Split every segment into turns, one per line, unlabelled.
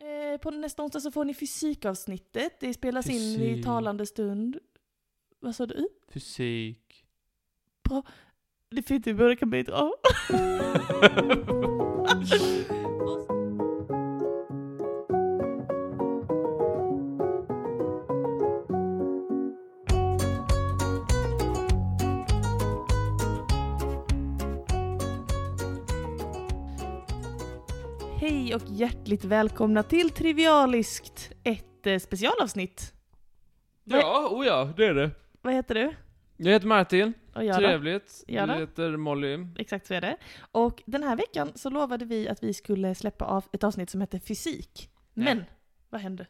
Eh, på nästa onsdag så får ni fysikavsnittet. Det spelas in i
Fysik.
talande stund. Vad sa du?
Fysik.
Det är fint vi båda kan bidra. Hej och hjärtligt välkomna till Trivialiskt, ett eh, specialavsnitt.
Ja, oh ja, det är det.
Vad heter du?
Jag heter Martin.
Och jag då?
Trevligt.
Ja då.
Du heter Molly.
Exakt så är det. Och den här veckan så lovade vi att vi skulle släppa av ett avsnitt som hette Fysik. Men,
Ja.
vad hände?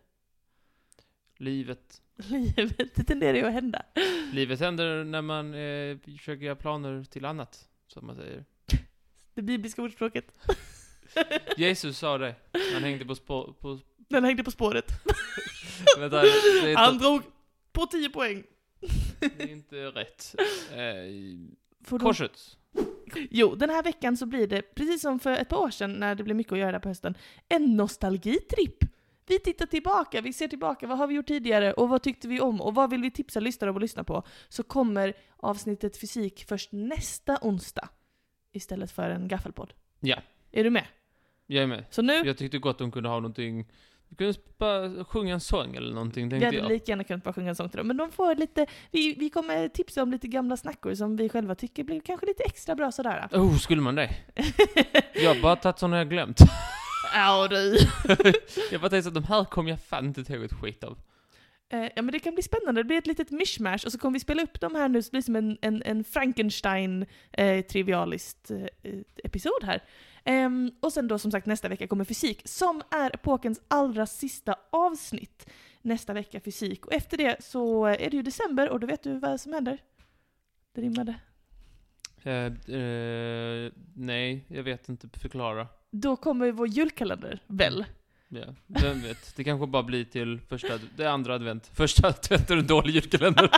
Livet.
Livet, det tenderar ju att hända.
Livet händer när man eh, försöker göra planer till annat, som man säger.
Det bibliska ordspråket.
Jesus sa det. Han hängde på spå... På,
Den hängde på spåret.
vänta, det är,
Han drog på 10 poäng.
det är inte rätt. Eh,
Får du-
korset.
Jo, den här veckan så blir det, precis som för ett par år sedan när det blev mycket att göra där på hösten, en nostalgitripp. Vi tittar tillbaka, vi ser tillbaka, vad har vi gjort tidigare och vad tyckte vi om och vad vill vi tipsa lyssnare om att lyssna på? Så kommer avsnittet fysik först nästa onsdag istället för en gaffelpodd.
Ja.
Är du med?
Jag är med.
Så nu,
Jag tyckte gott de kunde ha någonting... Vi kunde bara sjunga en sång eller någonting,
vi
tänkte
hade
jag.
lika gärna kunnat bara sjunga en sång till dem, men de får lite, vi, vi kommer tipsa om lite gamla snackor som vi själva tycker blev kanske lite extra bra sådär.
Oh, skulle man det? Jag har bara tagit sådana jag glömt.
Ja du.
Jag bara tänkte att de här kommer jag fan inte ihåg ett skit av.
Eh, ja men det kan bli spännande, det blir ett litet mishmash och så kommer vi spela upp de här nu så det blir som en, en, en Frankenstein eh, trivialist eh, eh, episod här. Ehm, och sen då som sagt nästa vecka kommer fysik som är epokens allra sista avsnitt. Nästa vecka fysik och efter det så är det ju december och då vet du vad som händer. Det rimmade.
Eh, eh, nej, jag vet inte förklara.
Då kommer vår julkalender väl?
Ja, vem vet? Det kanske bara blir till första, ad- det är andra advent. Första advent är en dålig julkalender.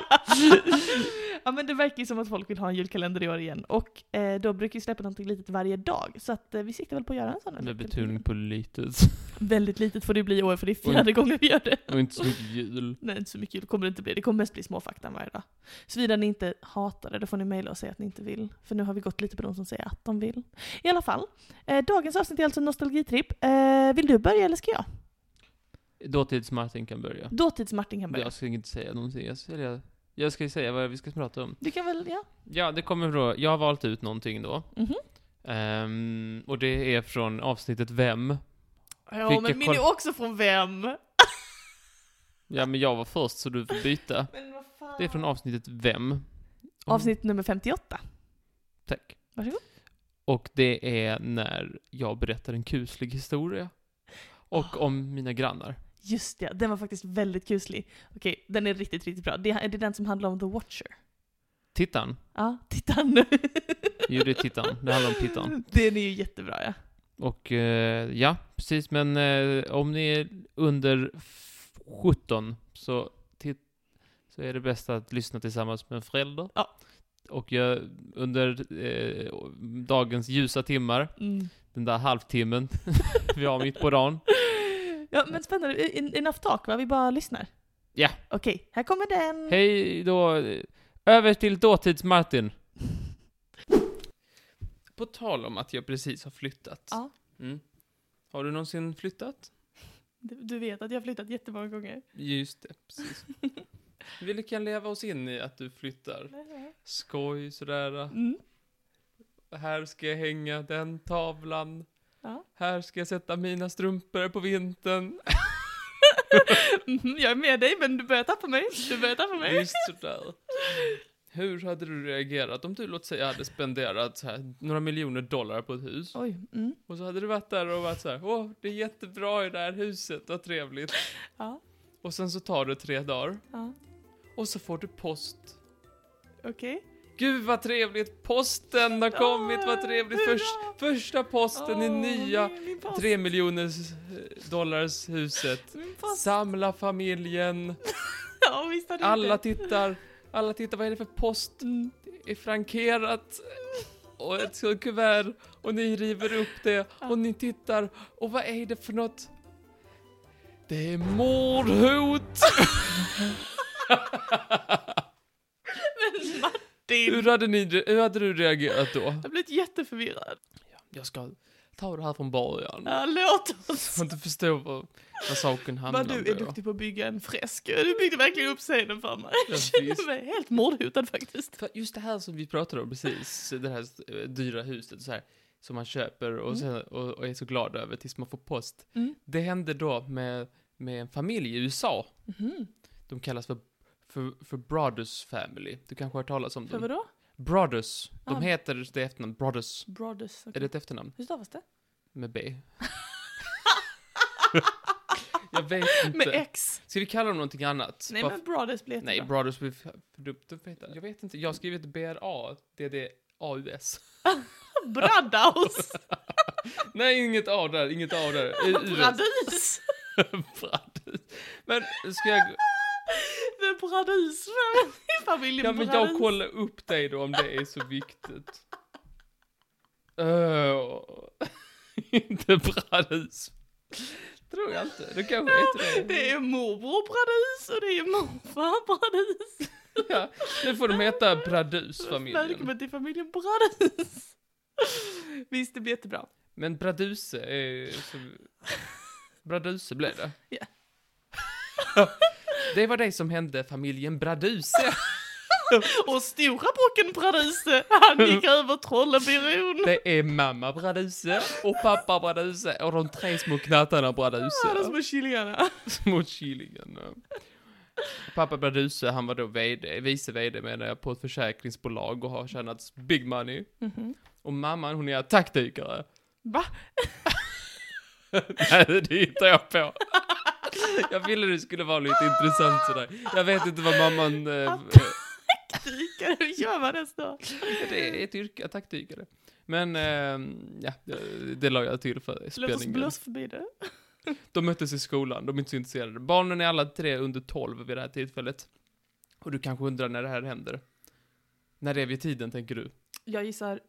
ja men det verkar ju som att folk vill ha en julkalender i år igen och eh, då brukar vi släppa någonting litet varje dag så att eh, vi siktar väl på att göra en sån. här
Med
julkalender.
betoning på litet.
Väldigt litet får det bli i år för det är
Oj.
fjärde gången vi gör det.
Och inte så mycket jul.
Nej, inte så mycket jul kommer det inte bli. Det kommer mest bli småfaktan varje dag. Såvida ni inte hatar det, då får ni mejla och säga att ni inte vill. För nu har vi gått lite på de som säger att de vill. I alla fall, eh, dagens avsnitt är alltså en nostalgitripp. Eh, vill du börja eller ska jag?
Dåtids-Martin kan börja.
Dåtids-Martin kan börja.
Jag ska inte säga någonting. Jag ska, eller jag, jag ska ju säga vad vi ska prata om.
Du kan väl, ja.
Ja, det kommer då. Jag har valt ut någonting då.
Mhm.
Ehm, och det är från avsnittet Vem?
Ja,
Fick jag
men min
koll-
är också från vem?
Ja, men jag var först så du får byta.
Men vad fan?
Det är från avsnittet Vem? Och-
avsnitt nummer 58.
Tack.
Varsågod.
Och det är när jag berättar en kuslig historia.
Ah.
Och om mina grannar.
Just det, den var faktiskt väldigt kuslig. Okej, den är riktigt, riktigt bra. Det är det är den som handlar om The Watcher.
Tittan.
Ja, titta nu.
Jo, det är Tittan. Det handlar om Tittan.
Den är ju jättebra ja.
Och eh, ja, precis. Men eh, om ni är under f- 17 så, tit- så är det bäst att lyssna tillsammans med en förälder.
Ja.
Och jag, under eh, dagens ljusa timmar,
Mm.
den där halvtimmen vi har mitt på dagen.
Ja men spännande, En- enough talk va? Vi bara lyssnar.
Ja.
Okej, här kommer den.
Hej då. Över till dåtids-Martin. På tal om att jag precis har flyttat.
Ja.
Mm. Har du någonsin flyttat?
Du, du vet att jag har flyttat jättemånga gånger.
Just det, precis. Vi kan leva oss in i att du flyttar. Skoj sådär.
Mm.
Här ska jag hänga den tavlan.
Ja.
Här ska jag sätta mina strumpor på vintern.
Mhm, jag är med dig men du börjar tappa mig. Du börjar tappa mig.
Just sådär. Hur hade du reagerat om du låt säga hade spenderat så här, några miljoner dollar på ett hus?
Oj. Mm.
Och så hade du varit där och varit så här, åh, det är jättebra i det här huset, vad trevligt.
Ja.
Och sen så tar det tre dagar,
ja.
och så får du post.
Okej.
Gud vad trevligt, posten har kommit, vad trevligt. Först,
Hurra!
första posten i
Åh,
nya
min- min post.
tre miljoners eh, dollars huset.
Min post.
Samla familjen,
Ja, visst har du
alla
det.
tittar, alla tittar, vad är det för post?
Mm.
Det är frankerat och ett sånt kuvert och ni river upp det och ni tittar och vad är det för något? Det är mordhot!
Men
Hur
Martin!
hade, ni, hur hade du reagerat då?
Jag har blivit jätteförvirrad.
Jag ska ta det här från början.
Ja, låt oss.
Så att du förstår var, var saken handlar
Vad du är
om då.
duktig på att bygga en fresk. Du byggde verkligen upp scenen för mig.
Ja,
Jag känner
visst.
mig helt mordhotad faktiskt.
För just det här som vi pratade om precis, det här eh, dyra huset så här, som man köper och,
Mm.
sen, och, och är så glad över tills man får post.
Mm.
Det hände då med, med en familj i USA.
Mhm.
De kallas för, för, för Brothers Family. Du kanske har hört talas om
För
dem?
vadå?
Brothers. De
Ah.
heter det efternamn, Brothers.
Brothers. okej.
Är det ett efternamn?
Hur stavas det?
Med B? Jag vet inte.
Med X.
Ska vi kalla dem någonting annat?
Nej
Bara
men Brothers blir
Nej,
jättebra.
Brothers with... för dumt att heta. Jag vet inte, jag har skrivit BRA, DDAUS.
Brothers.
Nej, inget A där, inget A där. U- US.
Bradus.
Brothers. Men ska jag...
The Bradus. Familjen
Ja, men jag
Bradus.
kollar upp dig då om det är så viktigt. Öh, inte Brothers. Tror jag inte, det kanske är inte
Det är morbror Bradus och det är morfar Bradus.
Ja, nu får de heta Bradus-familjen.
Välkommen till familjen Bradus. Visst, det blir jättebra.
Men Braduse är... Så... Braduse blev det.
Ja.
det var det som hände familjen Braduse.
Och stora brocken Braduse, han gick över Trollebybron.
Det är mamma Braduse och pappa Braduse och de tre små knattarna
Alla
Braduse.
små kylingarna.
Små kyllingen. Pappa Braduse, han var då VD, vice VD menar jag, på ett försäkringsbolag och har tjänat big money.
Mhm.
Och mamman, hon är attackdykare.
Va?
Nej, det hittar jag på. Jag ville det skulle vara lite intressant sådär. Jag vet inte vad mamman... Eh,
Dykare, hur gör man ens då?
det är ett yrke, attackdykare. Men, eh, ja, det la jag till för
Låt oss
spänningen.
blåsa förbi det.
De möttes i skolan, de är inte så intresserade. Barnen är alla tre under 12 vid det här tillfället. Och du kanske undrar när det här händer? När det är vid tiden, tänker du?
Jag gissar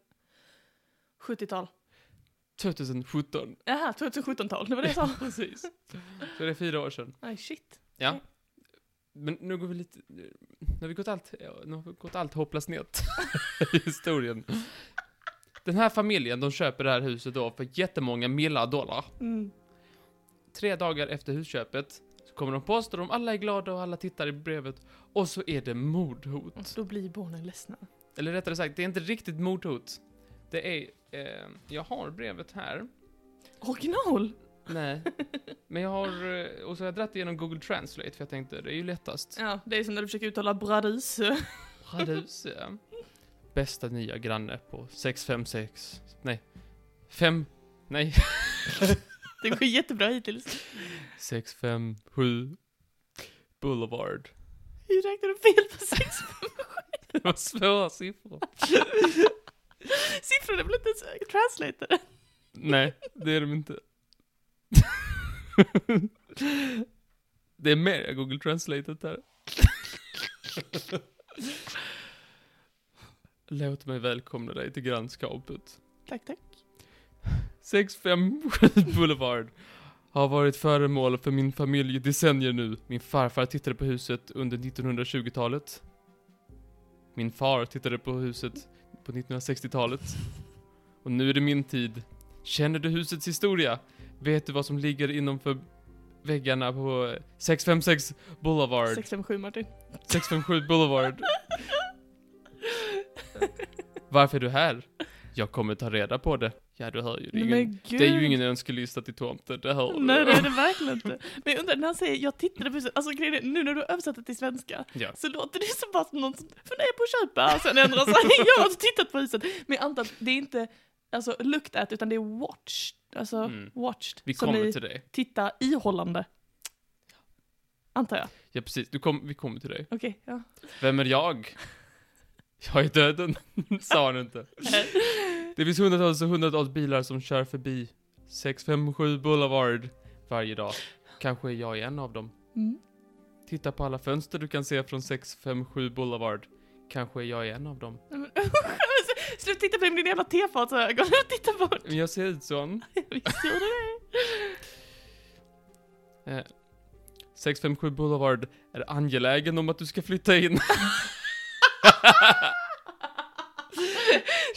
70-tal.
2017.
Jaha, 2017-tal, det var det jag sa.
Precis. Så det är fyra år sedan.
Aj, shit.
Ja. Men nu går vi lite... Nu har vi gått allt, nu har vi gått allt hopplöst snett i historien. Den här familjen, de köper det här huset då för jättemånga millar dollar.
Mm.
Tre dagar efter husköpet så kommer de post och de alla är glada och alla tittar i brevet. Och så är det mordhot.
Då blir barnen ledsna.
Eller rättare sagt, det är inte riktigt mordhot. Det är... Eh, jag har brevet här.
Original!
Nej. Men jag har... eh, Och så har jag dratt igenom Google Translate för jag tänkte det är ju lättast.
Ja, det är som när du försöker uttala bradus.
Raduse. Bästa nya granne på 656. Nej. 5. Nej.
Det går jättebra hittills.
657. Boulevard.
Hur räknade du fel på sex?
Det var svåra siffror.
Siffrorna blir inte ens translated.
Nej, det är de inte. Det är mer Google Translate där. Låt mig välkomna dig till grannskapet.
Tack, tack.
657 Boulevard har varit föremål för min familj i decennier nu. Min farfar tittade på huset under 1920-talet. Min far tittade på huset på 1960-talet. Och nu är det min tid. Känner du husets historia? Vet du vad som ligger innanför väggarna på 656 Boulevard?
657 Martin.
657 Boulevard. Varför är du här? Jag kommer ta reda på det. Ja, du hör ju. Det är, ingen,
gud.
det är ju ingen önskelista till tomten, det hör du.
Nej det är det verkligen inte. Men jag undrar när han säger jag tittade på huset, alltså grejen är, nu när du har översatt det till svenska
Ja.
så låter det som bara som någon som funderar på att köpa och sen ändrar sig. Jag har inte tittat på huset. Men jag antar att det är inte alltså, looked at utan det är watched. Alltså
Mm.
watched.
Vi
som
kommer
i
till dig.
titta ihållande. Antar jag.
Ja, precis. Du kom, vi kommer till dig.
Okej, ja.
Vem är jag? Jag är döden, sa han inte. Det finns hundratals och hundratals bilar som kör förbi 657 Boulevard varje dag. Kanske är jag en av dem.
Mm.
Titta på alla fönster du kan se från 657 Boulevard. Kanske är jag en av dem.
Nej, men- alltså, Sluta titta på det med dina jävla tefatsögon. Titta bort.
Men jag ser ut sån.
Visst gjorde det?
Eh, 657 Boulevard är angelägen om att du ska flytta in.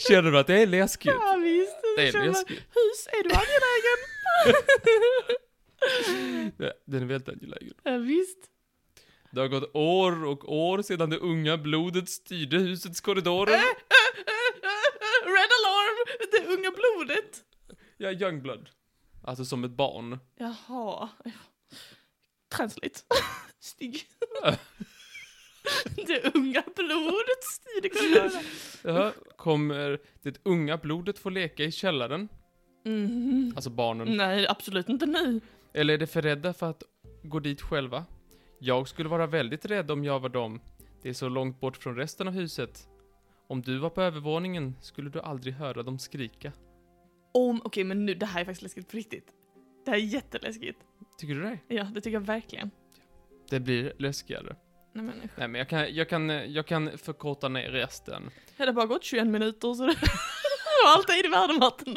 Känner du att det är läskigt?
Ja visst,
Det är
Kör man,
läskigt.
Hus, är du angelägen?
Ja, Den är väldigt angelägen.
ja, visst.
Det har gått år och år sedan det unga blodet styrde husets korridorer.
Äh? Red alarm! Det unga blodet!
Ja, youngblood. Alltså som ett barn.
Jaha. Translate. Snygg. Det unga blodet styr korridoren.
Jaha, kommer det unga blodet få leka i källaren?
Mhm.
Alltså barnen.
Nej, absolut inte nu.
Eller är de för rädda för att gå dit själva? Jag skulle vara väldigt rädd om jag var dem. Det är så långt bort från resten av huset. Om du var på övervåningen skulle du aldrig höra dem skrika.
Om, okej men nu, det här är faktiskt läskigt på riktigt. Det här är jätteläskigt.
Tycker du det?
Ja, det tycker jag verkligen.
Det blir läskigare.
Nej men usch.
Nej men jag kan, jag kan, jag kan förkorta ner resten.
Hade det bara gått 21 minuter så det det var allt i världen vatten.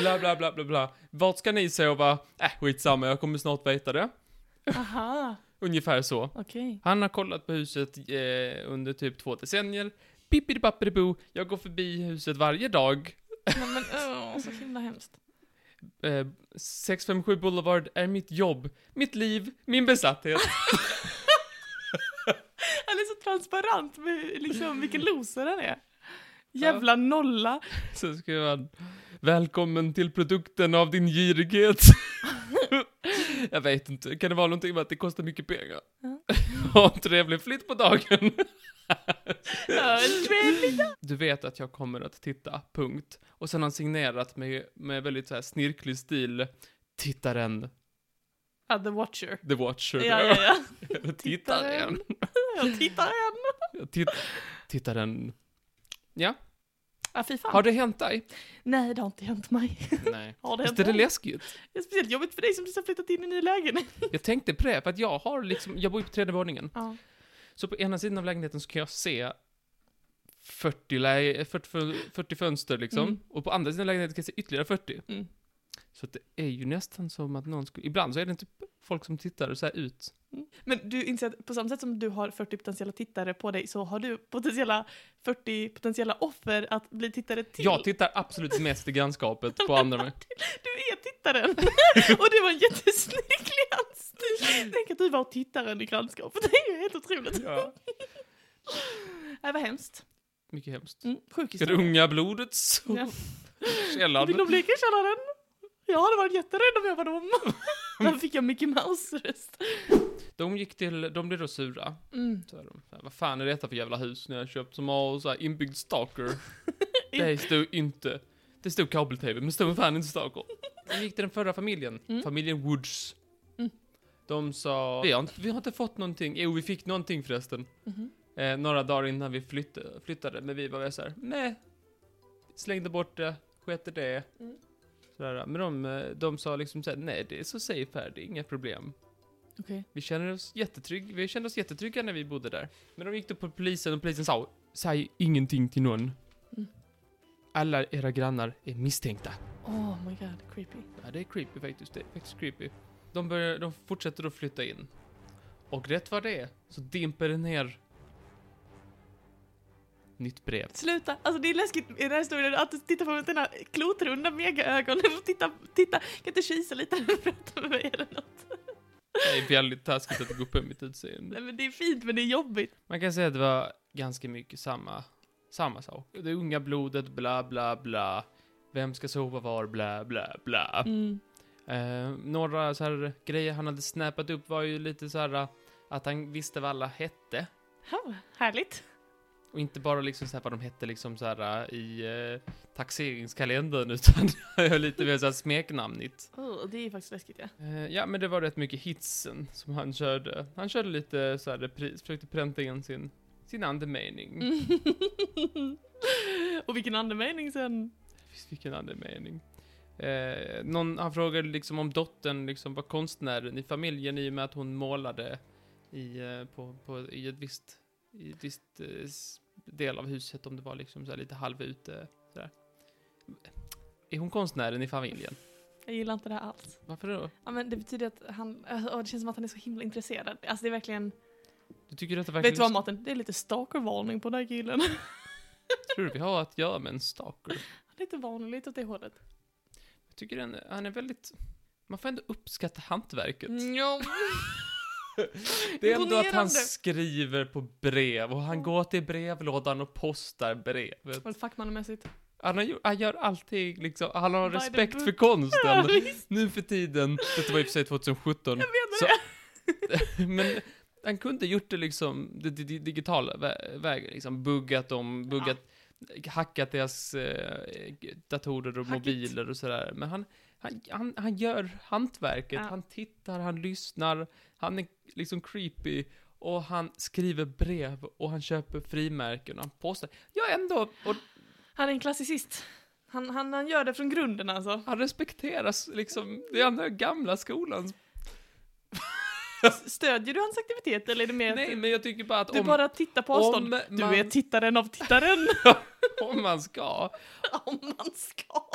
Bla bla bla bla bla. Vart ska ni sova? Äh, skitsamma, jag kommer snart veta det.
Aha,
Ungefär så.
okej.
Han har kollat på huset eh, under typ två decennier. Pippidi-pappidi-bo, jag går förbi huset varje dag.
Nej men åh, så himla hemskt.
Eh, 657 Boulevard är mitt jobb, mitt liv, min besatthet.
Han är så transparent med liksom vilken loser han är. Jävla nolla.
Så skriver han, välkommen till produkten av din girighet. jag vet inte, kan det vara någonting med att det kostar mycket pengar?
Ja.
Ha en trevlig flytt på dagen.
Ja, trevligt.
Du vet att jag kommer att titta, punkt. Och sen har han signerat med, med väldigt så här snirklig stil. Tittaren,
Ja, The Watcher.
The Watcher.
Ja, ja, ja.
Eller tittaren.
Jag tittar igen.
Titt tittaren. Ja,
Ja, fy fan.
har det hänt dig?
Nej, det har inte hänt mig.
Nej.
Har det
Visst
hänt
är det
mig?
läskigt?
Det är speciellt jobbigt för dig som precis har flyttat in i en ny lägenhet.
Jag tänkte på det, för att jag har liksom, jag bor ju på tredje våningen.
Ja.
Så på ena sidan av lägenheten så kan jag se 40, lä- 40, 40 fönster liksom.
Mm.
Och på andra sidan av lägenheten kan jag se ytterligare 40.
Mm.
Så att det är ju nästan som att någon skulle, ibland så är det inte folk som tittar så här ut.
Mm. Men du inser att på samma sätt som du har 40 potentiella tittare på dig så har du potentiella 40 potentiella offer att bli tittare till.
Jag tittar absolut mest i grannskapet på andra.
Du är tittaren! och det var en jättesnygg handstil. Tänk att du var tittaren i grannskapet. Det är ju helt otroligt.
Ja.
Nej, vad hemskt.
Mycket hemskt.
Mm, sjuk
Ska det
historia.
unga blodet så
Ja. Vill
källaren?
de leka i källaren? Jag hade varit jätterädd om jag var dem. Då fick jag Mickey Mouse-röst.
De gick till, de blev då sura.
Mm.
Så här, de, så här, vad fan är detta för jävla hus när jag köpt som har så här inbyggd stalker? det stod inte. Det stod kabel-tv, men det stod fan inte stalker. De gick till den förra familjen,
Mm.
familjen Woods.
Mm.
De sa, vi har, inte, vi har inte fått någonting. Jo, vi fick någonting förresten.
Mhm.
Eh, några dagar innan vi flyttade, flyttade men vi var så här, nej. Slängde bort det, sket i det.
Mm.
Sådär, men de, eh, de sa liksom såhär, nej det är så safe här, det är inga problem.
Okej.
Vi känner oss jättetrygg, vi kände oss jättetrygga när vi bodde där. Men de gick då på polisen och polisen sa, säg ingenting till någon.
Mm.
Alla era grannar är misstänkta.
Oh my god, creepy.
Ja, det är creepy faktiskt, det är faktiskt creepy. De, börjar, de fortsätter att flytta in. Och rätt vad det är, så dimper det ner. Nytt brev.
Sluta! Alltså det är läskigt i den här historien att du tittar på mig med dina klotrunda megaögon. Du får titta, titta, kan inte kisa lite när du pratar med mig eller något?
Det är väldigt taskigt att gå upp i mitt utseende.
Nej men det är fint men det är jobbigt.
Man kan säga att det var ganska mycket samma, samma sak. Det unga blodet, bla bla bla. Vem ska sova var, bla bla bla.
Mm.
Eh, några så här grejer han hade snäpat upp var ju lite så här eh, att han visste vad alla hette.
Ha, härligt.
Och inte bara liksom så här vad de hette liksom så här eh, i eh, taxeringskalendern utan lite mer så här smeknamnigt.
Oh, det är faktiskt läskigt ja.
Eh, ja, men det var rätt mycket hitsen som han körde. Han körde lite så här repris, försökte pränta in sin, sin andemening. Mm.
Och vilken andemening sen.
Visst, vilken andemening. Eh, någon, han frågade liksom om dottern liksom var konstnären i familjen i och med att hon målade i, eh, på, på, i ett visst, i ett visst eh, s- del av huset, om det var liksom så här lite halv ute. Så där. Är hon konstnären i familjen?
Jag gillar inte det här alls.
Varför då?
Ja, men det betyder att han, alltså, åh, det känns som att han är så himla intresserad. Alltså det är verkligen,
Du tycker att det
vet
verkligen...
du vad Martin? Det är lite stalkervarning på den här killen.
Tror du vi har att göra med en stalker?
lite varning, lite åt det hållet.
Jag tycker den, han är väldigt... Man får ändå uppskatta hantverket.
Ja.
Det är ändå att han
Imponerande.
skriver på brev och han går till brevlådan och postar brevet.
Vad fackmannamässigt.
Han, har, gjort- han gör alltid liksom, han har
By the
respekt
book.
för
Ja,
konsten.
visst.
Nu för tiden, det var i och för sig
Jag
2017.
menar
Så-
det.
Men han kunde gjort det liksom, det, det, det digitala vä- vägen, liksom buggat dem, buggat, hackat deras eh, datorer och
Hackigt.
mobiler och sådär. Men han, han, han, han gör hantverket,
Ja.
han tittar, han lyssnar, han är liksom creepy. Och han skriver brev och han köper frimärken och han postar. Ja, ändå, och
Han är en klassicist. Han, han, han gör det från grunden alltså.
han respekteras liksom, det är den här gamla skolan.
S- Stödjer du hans aktivitet eller är det mer
Nej,
att
men jag tycker bara att
du
om,
bara tittar på avstånd?
om
Du
man-
är tittaren av tittaren.
om man ska,
om man ska.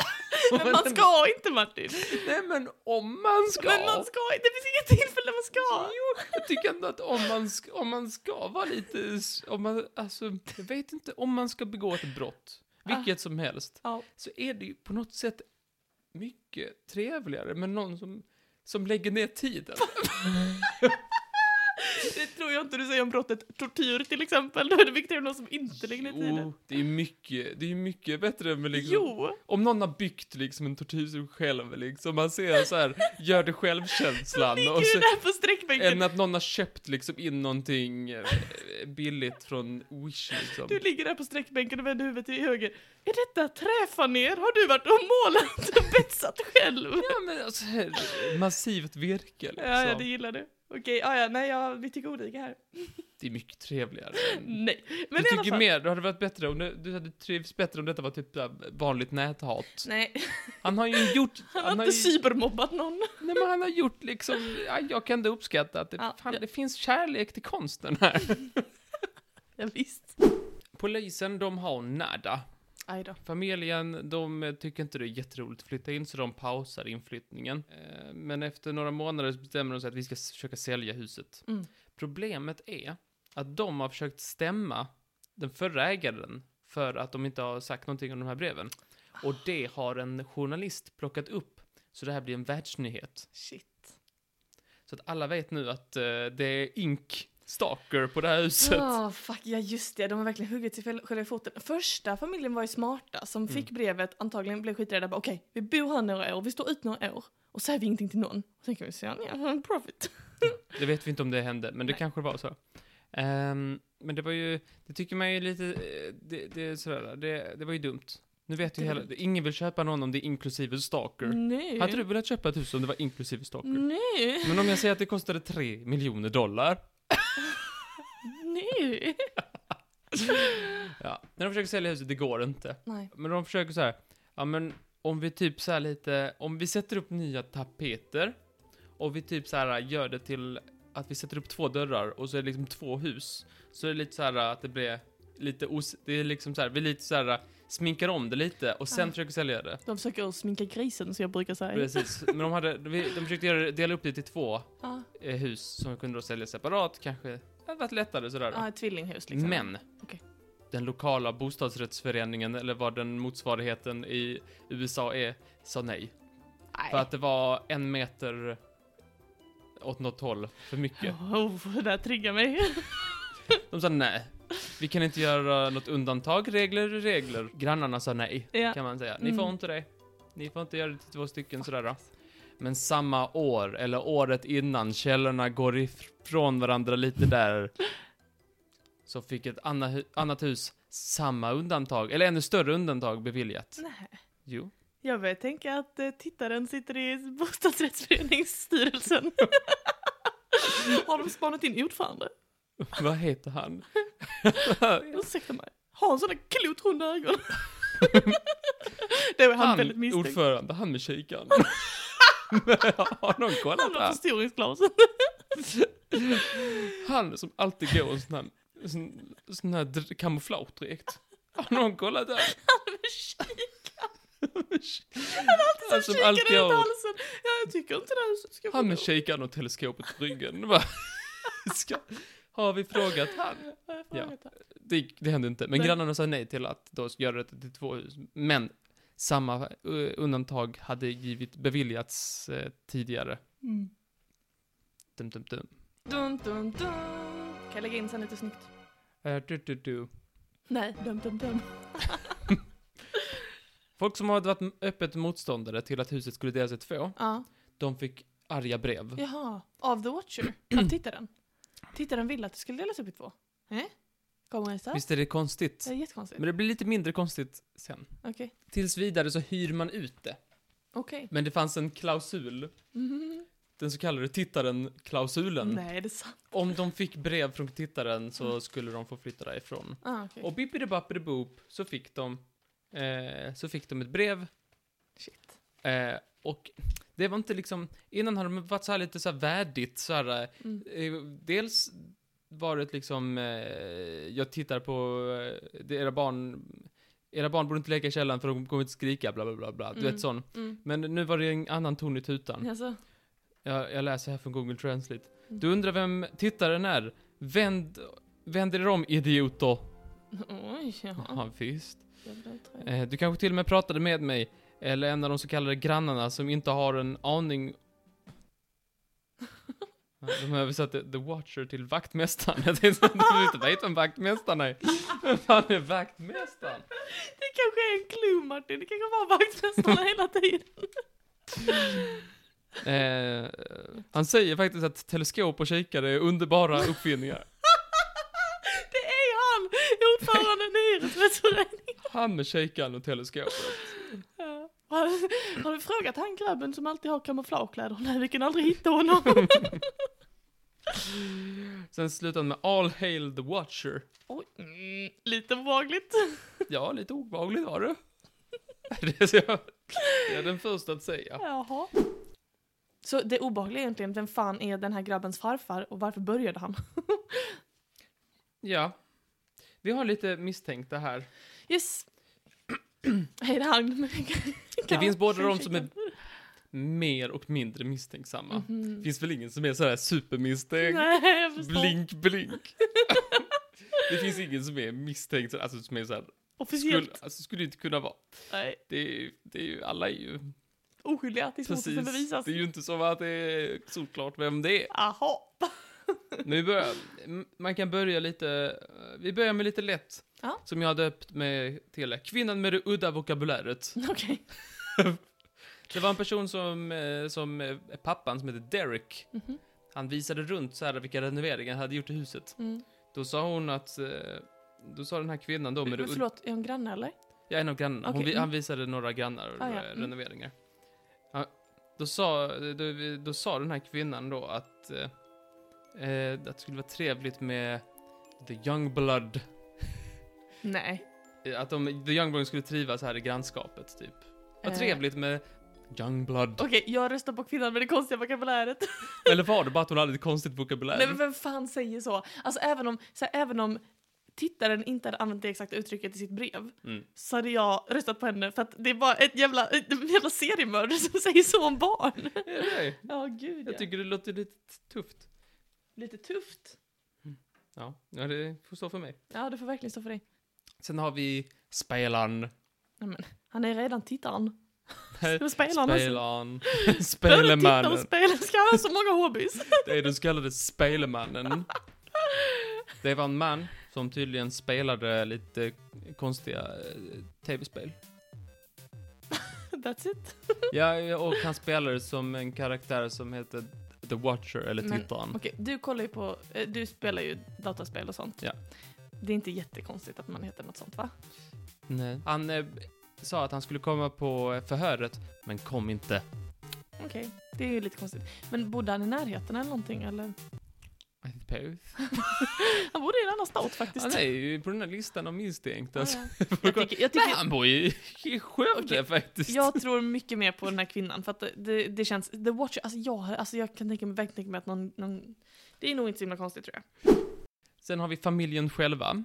Men man ska inte Martin.
Nej men om man ska!
Men man ska inte. Det finns inget tillfälle man ska.
Jo, jag tycker ändå att om man ska, om man ska vara lite, s- om man, alltså, jag vet inte, om man ska begå ett brott,
Ah.
vilket som helst,
Ja.
så är det ju på något sätt mycket trevligare med någon som, som lägger ner tiden.
Det tror jag inte du säger om brottet tortyr till exempel. Då är det viktigare än någon som inte lägger ner tiden.
Jo, det är mycket, det är mycket bättre med liksom,
Jo,
om någon har byggt liksom en tortyrstol själv liksom, man ser så här, gör det självkänslan
ligger
och
du
så,
där på sträckbänken.
än att någon har köpt liksom in någonting eh, billigt från Wish liksom.
Du ligger där på sträckbänken och vänder huvudet till höger. Är detta träfaner? Har du varit och målat och betsat själv?
Ja, men alltså, massivt virke liksom.
Ja, ja, det
det...
gillar du. Okej, ja, ja, nej, ja, vi tycker olika här.
är mycket trevligare. än-
Nej, Mm. men
Mm. du
i alla
tycker
fall.
mer, det hade varit bättre om du, du hade trivts bättre om detta var typ såhär vanligt näthat.
Nej,
Han har ju gjort,
han har
ju,
inte cybermobbat någon.
nej, men han har gjort liksom, ja, jag kan ändå uppskatta att det,
Ja,
fan,
ja.
det finns kärlek till konsten här.
Ja, visst.
Polisen, de har nada.
Aj då.
Familjen, de eh, tycker inte det är jätteroligt att flytta in så de pausar inflyttningen. Eh, Men efter några månader så bestämmer de sig att vi ska s- försöka sälja huset.
Mm.
Problemet är att de har försökt stämma den förra ägaren för att de inte har sagt någonting om de här breven. Och det har en journalist plockat upp, så det här blir en världsnyhet.
Shit.
Så att alla vet nu att eh, det är ink stalker på det här huset.
Ah fuck, ja just det, de har verkligen huggit sig fel- själva i foten. Första familjen var ju smarta som
Mm.
fick brevet, antagligen blev skiträdda. bara, Okej, vi bor här några år, vi står ut några år och säger vi ingenting till någon. Och sen kan vi säga, ja, profit.
Det vet vi inte om det hände, men det
Nej.
kanske var så. Ehm, men det var ju, det tycker man ju lite, eh, det, det, är sådär, det, det var ju dumt. Nu vet ju
Det var
hela,
dumt.
ingen vill köpa någon om det är inklusive stalker.
Nej.
Hade du Mm. velat köpa ett hus om det var inklusive stalker?
Nej.
Men om jag säger att det kostade 3 miljoner dollar.
Nej.
Ja, när de försöker sälja huset, det går inte.
Nej.
Men de försöker så här, ja men om vi typ så här lite, om vi sätter upp nya tapeter och vi typ så här gör det till att vi sätter upp två dörrar och så är det liksom två hus. Så är det lite så här att det blir lite os... Det är liksom så här, vi lite så här sminkar om det lite och sen
Ah.
försöker sälja det.
De försöker sminka grisen som jag brukar säga.
Precis, men de hade, vi- de försökte göra, det- dela upp det till två
Ja,
eh, hus som vi kunde då sälja separat kanske. Det hade varit lättare sådär.
ah, ett tvillinghus liksom.
Men
Okej.
den lokala bostadsrättsföreningen, eller vad den motsvarigheten i USA är, sa nej.
Nej.
För att det var en meter åt något håll för mycket.
Oh, det där triggar mig.
De sa nej. Vi kan inte göra något undantag, regler är regler. Grannarna sa nej,
Ja.
kan man säga. Ni får
Mm.
inte det. Ni får inte göra det till två stycken sådär. då. Men samma år, eller året innan, källorna går ifrån varandra lite där. Så fick ett anna- hu- annat hus samma undantag, eller ännu större undantag beviljat.
Nej.
Jo.
Jag börjar tänka att eh, tittaren sitter i bostadsrättsföreningsstyrelsen. Har de spanat in ordförande?
Vad heter han?
Ursäkta mig. Har han sådana klotrunda ögon? Det var han, väldigt misstänkt.
ordförande, han med kikaren. har någon kollat
Han har
där?
förstoringsglasen.
Han som alltid går i en sån här, sån, sån här dr- kamouflagedräkt. Har någon kollat där?
Han är med kikaren.
Med
Han har alltid
Alltså,
alltså, kikare
alltid
alltid
jag-
ut halsen. Ja, jag tycker inte det här huset ska få
Han med
bo.
shakern och teleskopet på ryggen. Bara, ska, har vi frågat han?
Ja, jag får
Ja.
veta.
Det, det hände inte. Men
Nej.
grannarna sa nej till att då göra det till två hus. Men samma eh, undantag hade givit, beviljats eh, tidigare.
Mm.
Dum, dum, dum.
Dun, dun, dun. Kan jag lägga in sen lite snyggt?
Eh, du, du, du.
Nej, dum, dum, dum.
Folk som hade varit öppet motståndare till att huset skulle delas i två,
Ja.
de fick arga brev.
Jaha, av The Watcher? Av tittaren? Tittaren ville att det skulle delas upp i två? Nej? Kommer jag
Visst är det konstigt?
Det är jättekonstigt.
Men det blir lite mindre konstigt sen.
Okej.
Tills vidare så hyr man ut det.
Okej.
Men det fanns en klausul,
Mhm.
den så kallade tittaren-klausulen.
Nej, det är sant.
Om de fick brev från tittaren så skulle de få flytta därifrån.
Ah, okej.
Och bippidi-bappidi-boop så fick de, eh, så fick de ett brev.
Shit.
Eh, och det var inte liksom, innan hade de varit så här lite så här värdigt så här. eh,
Mm.
Eh, dels var det liksom, eh, jag tittar på eh, det, era barn, era barn borde inte leka i källaren för de kommer inte skrika bla bla bla bla, du
Mm.
vet sån.
Mm.
Men nu var det en annan ton i tutan.
Alltså,
Jag, jag läser här från Google Translate.
Mm.
Du undrar vem tittaren är? Vänd, vänd er om idioter.
oj, jaha.
Ja, visst.
Ja, det tror jag.
Eh, du kanske till och med pratade med mig, eller en av de så kallade grannarna som inte har en aning Ja, de översatte The Watcher till vaktmästaren. Jag tänkte att de inte vet vem vaktmästaren är. Vem fan är vaktmästaren?
Det kanske är en clue Martin, det kanske var vaktmästarna hela tiden.
Eh, han säger faktiskt att teleskop och kikare är underbara uppfinningar.
Det är han! Ordföranden i hyresrättsföreningen.
Han med kikaren och teleskopet.
Ja. Har, har du frågat han grabben som alltid har kamouflagekläder? Nej, vi kan aldrig hitta honom.
Sen slutar han med All Hail The Watcher.
Oj, mm, lite obehagligt.
Ja, lite obehagligt var det. Det är jag- jag är den första att säga.
Jaha. Så det obehagliga är egentligen, vem fan är den här grabbens farfar och varför började han?
Ja. Vi har lite misstänkta här.
Yes. Hej, det är han.
Det finns både de som är mer och mindre misstänksamma.
Mhm.
Finns väl ingen som är sådär supermisstänkt?
Nej, jag förstår.
Blink, blink. det finns ingen som är misstänkt, så- alltså som är såhär,
Officiellt.
skulle, alltså, skulle inte kunna vara.
Nej,
Det är, ju- det är ju, alla är ju,
oskyldiga tills
precis,
motsatsen bevisas.
det är ju inte som att det är solklart vem det är.
Jaha.
Men vi börjar, m- man kan börja lite, eh, vi börjar med lite lätt.
Ja.
Som jag döpt med till Kvinnan med det udda vokabuläret.
Okej.
Det var en person som, eh, som eh, pappan som heter Derek.
Mhm.
Han visade runt så här vilka renoveringar han hade gjort i huset.
Mm.
Då sa hon att, eh, då sa den här kvinnan då med
Men
det ud-
förlåt, är hon granne eller?
Ja, en av grannarna. Hon,
Okej,
vi-
mm.
han visade några grannar
Ah, ja,
eh,
mm.
renoveringar. Ja, då, sa, då, då sa den här kvinnan då att, eh, eh, att det skulle vara trevligt med the young blood.
Nej.
Eh, Att de, the young blood skulle trivas här i grannskapet typ. Vad
Eh.
trevligt med young blood.
Okej, jag röstar på kvinnan med det konstiga vokabuläret.
Eller var det bara att hon hade ett konstigt vokabulär?
Nej men vem fan säger så? Alltså även om, så här, även om tittaren inte hade använt det exakta uttrycket i sitt brev
Mm.
så hade jag röstat på henne för att det är bara ett jävla, ett jävla seriemördare som säger så om barn.
Är det?
Ja gud
Jag
ja.
tycker det låter lite t- tufft.
Lite tufft.
Ja, ja det får stå för mig.
Ja det får verkligen stå för dig.
Sen har vi spelaren.
Han är redan tittaren.
Spelaren.
Så Spelar han alltså. Både tittare och
Spelemannen.
spelare ska ha så många hobbys.
Det är den så kallade spelmannen. Det var en man som tydligen spelade lite konstiga eh, tv-spel.
That's it.
Ja, och han spelade som en karaktär som heter The Watcher, eller
Men-
Tittaren.
Okej, du kollar ju på, eh, du spelar ju dataspel och sånt.
Ja.
Det är inte jättekonstigt att man heter något sånt va?
Nej. Han eh, sa att han skulle komma på eh, förhöret, men kom inte.
Okej, det är ju lite konstigt. Men bodde han i närheten eller någonting eller?
I suppose.
Han bodde i en annan stat faktiskt.
Han är ju på den här listan av misstänkta.
Ja,
Alltså.
ja. jag, tycker, jag,
Nej,
tycker,
han bor ju i Skövde
Okej,
faktiskt.
jag tror mycket mer på den här kvinnan för att det- det, det känns, The Watcher, alltså jag, har- alltså jag kan tänka mig, verkligen tänka mig att någon, någon, det är nog inte så himla konstigt tror jag.
Sen har vi familjen själva.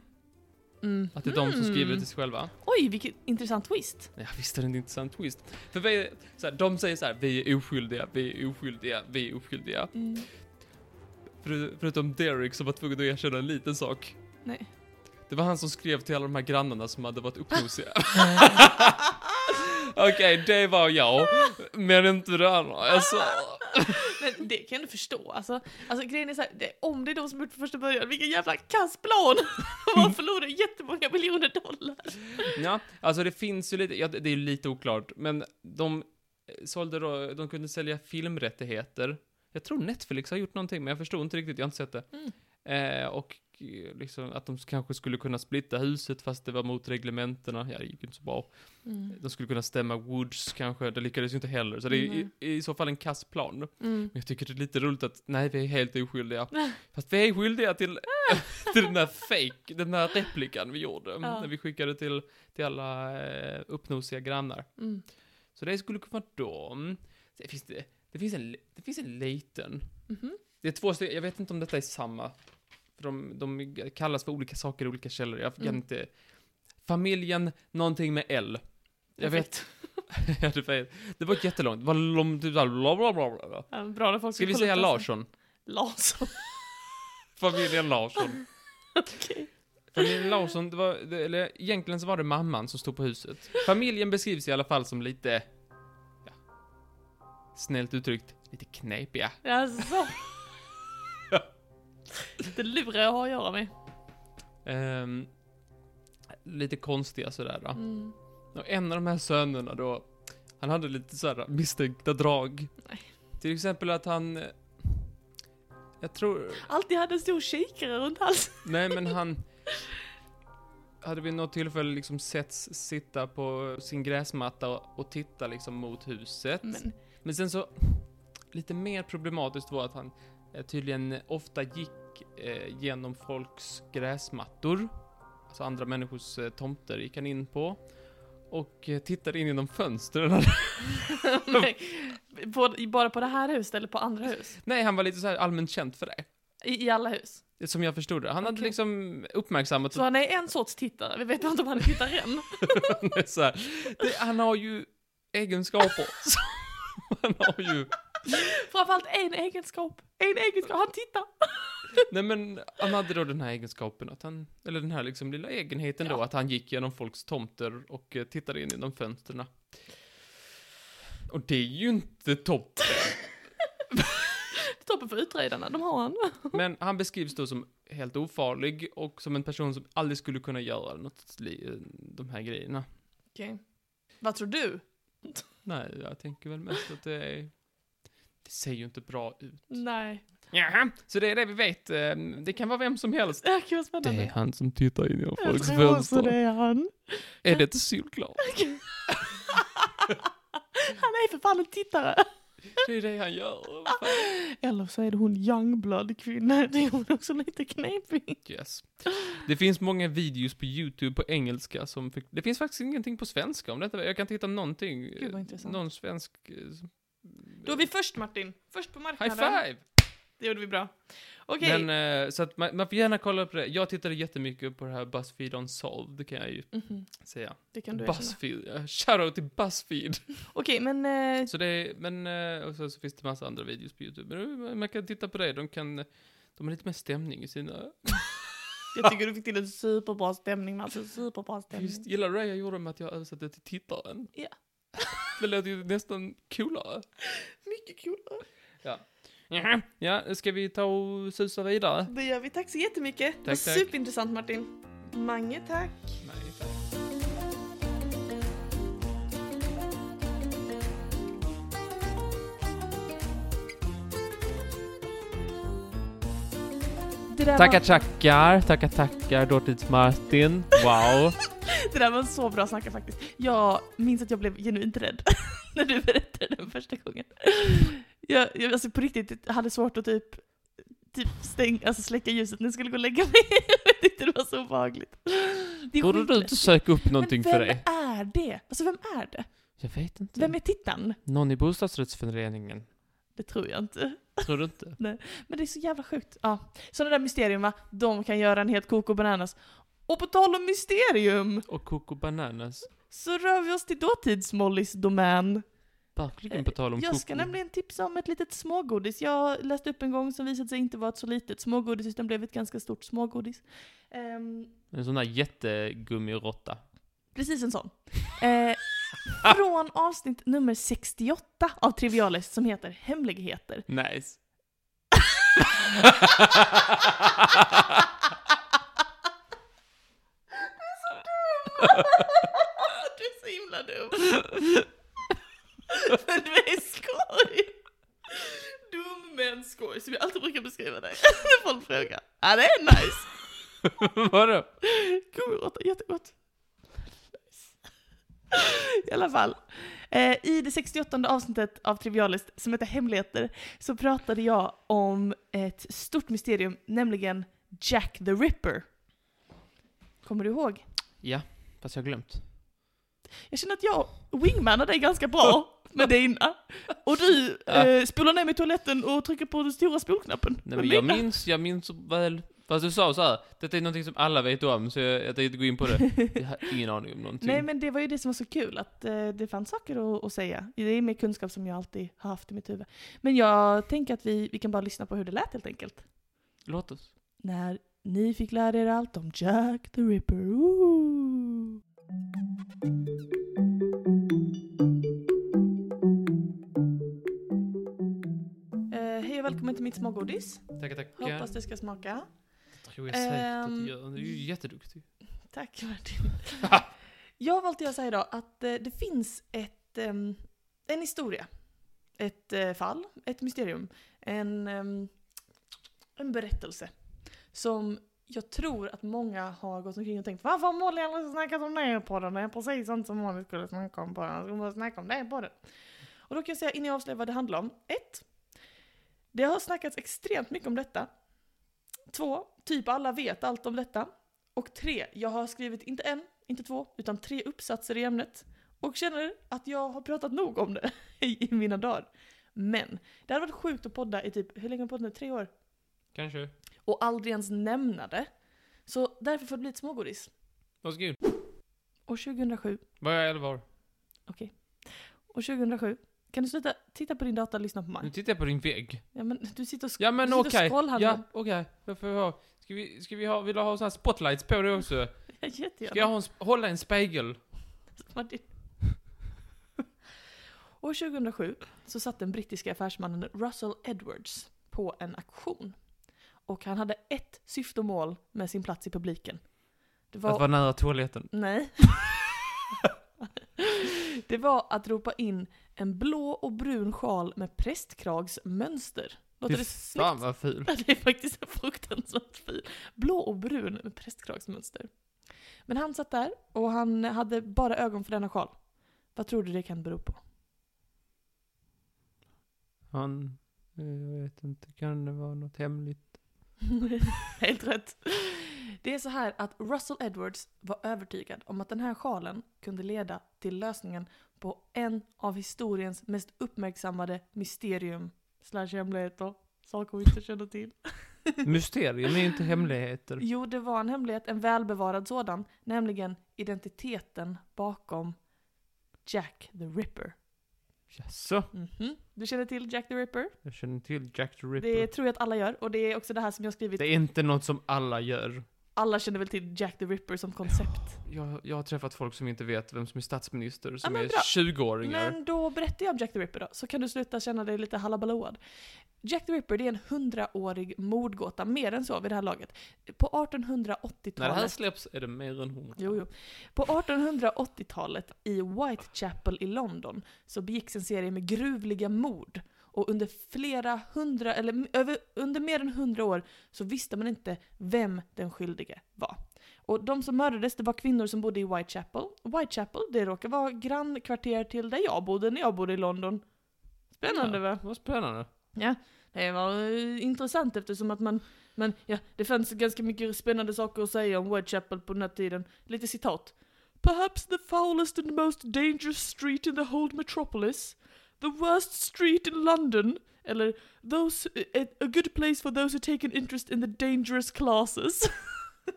Mm.
Att det är de som skriver det
Mm.
till sig själva.
Oj, vilken intressant twist.
Ja, visst är det en intressant twist. För vi är, så här, de säger så här, vi är oskyldiga, vi är oskyldiga, vi är oskyldiga.
Mm.
För, förutom Derek som var tvungen att erkänna en liten sak.
Nej.
Det var han som skrev till alla de här grannarna som hade varit uppnosiga. Okej, det var jag, men inte det andra. Alltså,
Men det kan du förstå. Alltså, alltså grejen är så här, det, om det är de som gjort det från första början, vilken jävla kassplan!
Mm.
Man förlorar jättemånga miljoner dollar.
ja, alltså det finns ju lite, ja, det det är ju lite oklart, men de eh, sålde då, de kunde sälja filmrättigheter. Jag tror Netflix har gjort någonting, men jag förstod inte riktigt, jag har inte sett det.
Mm.
Eh, och eh, liksom att de kanske skulle kunna splitta huset fast det var mot reglementena. Ja, det gick ju inte så bra.
Mm.
De skulle kunna stämma Woods kanske, det lyckades ju inte heller. Så det är i,
Nej.
i så fall en kass plan. Men
Mm.
jag tycker det är lite roligt att, nej vi är helt oskyldiga. Fast vi är skyldiga till, till den här fake, den här replikan vi gjorde. När vi skickade till, till alla eh, uppnosiga grannar.
Mm.
Så det skulle kunna vara dem. Det finns, det, det finns, en, li- det finns en liten.
Mhm.
Det är två stycken, jag vet inte om detta är samma. För de, de kallas för olika saker i olika källor. Jag kan
Mm.
inte... Familjen, någonting med L. Jag vet. Ja, du vet. det var jättelångt. Det var långt, typ såhär, bla, bla, bla, bla, bla.
Ja, Bra när folk
Ska vi
kolla
säga
upp det sen.
Larsson?
Larsson,
Familjen Larsson.
okej.
Familjen Larsson, det var, det, eller egentligen så var det mamman som stod på huset. Familjen beskrivs i alla fall som lite, ja, snällt uttryckt, lite knepiga.
Alltså. Det lurar jag har att göra med.
Ehm, lite konstiga sådär. Då.
Mm.
Och en av de här sönerna då, han hade lite sådär misstänkta drag.
Nej.
Till exempel att han, eh, jag tror,
Alltid hade en stor kikare runt halsen.
nej men han, hade vid något tillfälle liksom setts sitta på sin gräsmatta och, och titta liksom mot huset.
Men,
Men sen så, lite mer problematiskt var att han eh, tydligen ofta gick eh, genom folks gräsmattor. Alltså andra människors eh, tomter gick han in på. Och eh, tittade in genom fönstren.
men, på, bara på det här huset eller på andra hus?
Nej, han var lite så här allmänt känd för det.
I, I alla hus?
Som jag förstod det. Han hade
Okej.
liksom uppmärksammat
Så han är en sorts tittare, vi vet inte om han är tittare än.
det så här. Det, han har ju egenskaper. som- han har ju...
Framförallt en egenskap. En egenskap, han tittar.
Nej men, han hade då den här egenskapen att han... Eller den här liksom lilla egenheten då,
Ja.
att han gick genom folks tomter och eh, tittade in genom fönstren. Och det är ju inte topp.
Toppen för utredarna, de har han.
Men han beskrivs då som helt ofarlig och som en person som aldrig skulle kunna göra något, li- eh, de här grejerna.
Okej. Vad tror du?
Nej, jag tänker väl mest att det är... Det ser ju inte bra ut.
Nej.
Jaha, så det är det vi vet. Eh, Det kan vara vem som helst.
Äh, gud vad
Det är
spännande.
han som tittar in genom folks
Jag tror också det
fönster.
är han.
Är det inte solklart?
Han är för fan en tittare.
Det är det han gör.
Eller så är det hon Youngblood-kvinna. Det är hon också lite knepig.
Yes. Det finns många videos på YouTube på engelska som... Fick, det finns faktiskt ingenting på svenska om detta. Jag kan inte hitta någonting.
Gud, vad intressant.
Någon svensk... eh,
Då är vi först Martin. Först på
High
marknaden.
five!
Det gjorde vi bra. Okej.
Men, eh, så att man, man får gärna kolla på det. Jag tittade jättemycket på det här Buzzfeed Unsolved, det kan jag ju
Mhm.
säga.
Det kan du erkänna.
Buzzfeed, eh, shoutout till Buzzfeed!
Okej, men... eh,
Så det är, men, eh, och så, så finns det massa andra videos på YouTube. Men eh, man kan titta på det, de kan, eh, de har lite mer stämning i sina...
jag tycker du fick till en superbra stämning, Martin. Superbra stämning.
Just, gillar du det jag gjorde med att jag översatte till tittaren?
Ja.
det låter ju nästan coolare.
Mycket kul.
Jaha, Ja, ska vi ta och susa vidare?
Det gör vi. Tack så jättemycket. det var
Tack, tack.
superintressant Martin. Mange tack.
Nej.
Det där,
Tackar,
var,
tackar, tackar, tackar, Dårtids-Martin. Wow.
det där var en så bra snacka faktiskt. Jag minns att jag blev genuint rädd när du berättade den första gången. Jag, jag alltså på riktigt hade svårt att typ, typ stäng, alltså släcka ljuset när jag skulle gå och lägga mig. Jag tyckte det var så obehagligt. Det är
Borde du
skitlätt.
inte söka upp någonting
Men
för dig? Typ.
vem är det? Alltså vem är det?
Jag vet inte.
Vem är tittaren?
Någon i bostadsrättsföreningen.
Det tror jag inte.
Tror du inte?
Men det är så jävla sjukt. Ja. Sådana där mysterium va, de kan göra en helt koko bananas. Och på tal om mysterium
Och Coco Bananas.
så rör vi oss till dåtids-Mollys domän.
Verkligen på tal om
Eh, Jag ska
Coco.
nämligen tipsa om ett litet smågodis. Jag läste upp en gång som visade sig inte vara ett så litet smågodis utan blev ett ganska stort smågodis. Ehm,
En sån där jättegummirotta.
Precis en sån. Eh, från avsnitt nummer 68 av Trivialist som heter Hemligheter.
Nice.
du är så himla dum. Men du är skoj. Dum men skoj, som jag alltid brukar beskriva dig. När folk frågar. Ja, det är nice.
Vadå?
Gummiråtta, jättegott. I alla fall. Eh, I det 68 avsnittet av Trivialist som heter Hemligheter så pratade jag om ett stort mysterium, nämligen Jack the Ripper. Kommer du ihåg?
Ja, fast jag har glömt.
Jag känner att jag wingmanar dig ganska bra med dina. Och du eh, spolar ner mig i toaletten och trycker på den stora spolknappen.
Nej,
med
men jag
mina.
minns, jag minns så väl. Fast du sa så här, detta är någonting som alla vet om, så jag, jag tänkte inte gå in på det. Jag har ingen aning om någonting.
Nej men det var ju det som var så kul, att eh, det fanns saker att, att säga. Det är mer kunskap som jag alltid har haft i mitt huvud. Men jag tänker att vi, vi kan bara lyssna på hur det lät helt enkelt.
Låt oss.
När ni fick lära er allt om Jack the Ripper. Ooh. Eh, hej och välkommen till mitt smågodis.
Tackar, tackar.
Hoppas det ska smaka.
Det tror jag säkert att
Ehm.
du gör. Du är ju jätteduktig.
Tack Martin. jag har valt att säga idag att eh, det finns ett, ehm, en historia. Ett eh, fall, ett mysterium. En, ehm, en berättelse. Som jag tror att många har gått omkring och tänkt Varför har Molly aldrig snackat om det på den? Det är precis sånt som Molly skulle snacka om på den. Hon borde snacka om det på den. Och då kan jag säga innan jag avslöjar vad det handlar om. Ett. Det har snackats extremt mycket om detta. Två. Typ alla vet allt om detta. Och tre, jag har skrivit inte en, inte två, utan tre uppsatser i ämnet. Och känner att jag har pratat nog om det i mina dagar. Men, det hade varit sjukt att podda i typ, hur länge har jag poddat nu? Tre år?
Kanske.
Och aldrig ens nämna det. Så därför får det bli ett smågodis.
Varsågod.
År 2007,
Var jag elva år?
år 2007. Kan du sluta titta på din data och lyssna på
Nu
mig?
tittar jag på din vägg.
Ja men du sitter och sk-
Mm. Ja men
du sitter
okej.
och scrollhandlar.
Ja, okej. Okay. Får jag ha? Ska vi, ska vi ha, vill du ha såna här spotlights på det också?
Ja,
Ska jag
jättegärna.
ha en, sp- hålla en spegel?
Vad det- År 2007 så satt den brittiska affärsmannen Russell Edwards på en auktion. Och han hade ett syfte och mål med sin plats i publiken. Det
Att vara
var...
nära toaletten.
Nej. det var att ropa in en blå och brun sjal med prästkragsmönster. Låter
Fy
det
Fan
snyggt?
vad ful.
Ja, Det är faktiskt en fruktansvärt fin. Blå och brun med prästkragsmönster. Men han satt där och han hade bara ögon för denna sjal. Vad tror du det kan bero på?
Han... eh, Jag vet inte, kan det vara något hemligt?
Helt rätt. Det är så här att Russell Edwards var övertygad om att den här sjalen kunde leda till lösningen på en av historiens mest uppmärksammade mysterium slash hemligheter. Saker vi inte känner till.
Mysterium är ju inte hemligheter.
Jo, det var en hemlighet, en välbevarad sådan, nämligen identiteten bakom Jack the Ripper.
Jaså?
Mhm. Du känner till Jack the Ripper?
Jag känner till Jack the Ripper.
Det tror jag att alla gör, och det är också det här som jag har skrivit.
Det är inte något som alla gör.
Alla känner väl till Jack the Ripper som koncept?
Jag, jag har träffat folk som inte vet vem som är statsminister, som
men
är
bra.
20-åringar.
Men då berättar jag om Jack the Ripper då, så kan du sluta känna dig lite hallabaload. Jack the Ripper det är en hundraårig mordgåta, mer än så vid det här laget. På
När det här
1880-talet...
släpps är det mer än hon.
Jo, jo. På 1880-talet i Whitechapel i London så begicks en serie med gruvliga mord. Och under flera hundra, eller m- över, under mer än hundra år så visste man inte vem den skyldige var. Och de som mördades det var kvinnor som bodde i Whitechapel. Whitechapel, det råkar vara grannkvarter till där jag bodde när jag bodde i London. Spännande
Ja,
va?
Vad spännande.
Det var eh, intressant eftersom att man, men ja, det fanns ganska mycket spännande saker att säga om Whitechapel på den här tiden. Lite citat. Perhaps the foulest and most dangerous street in the whole metropolis. The worst street in London. Eller those, eh, a, a good place for those who take an interest in the dangerous classes.
Ja.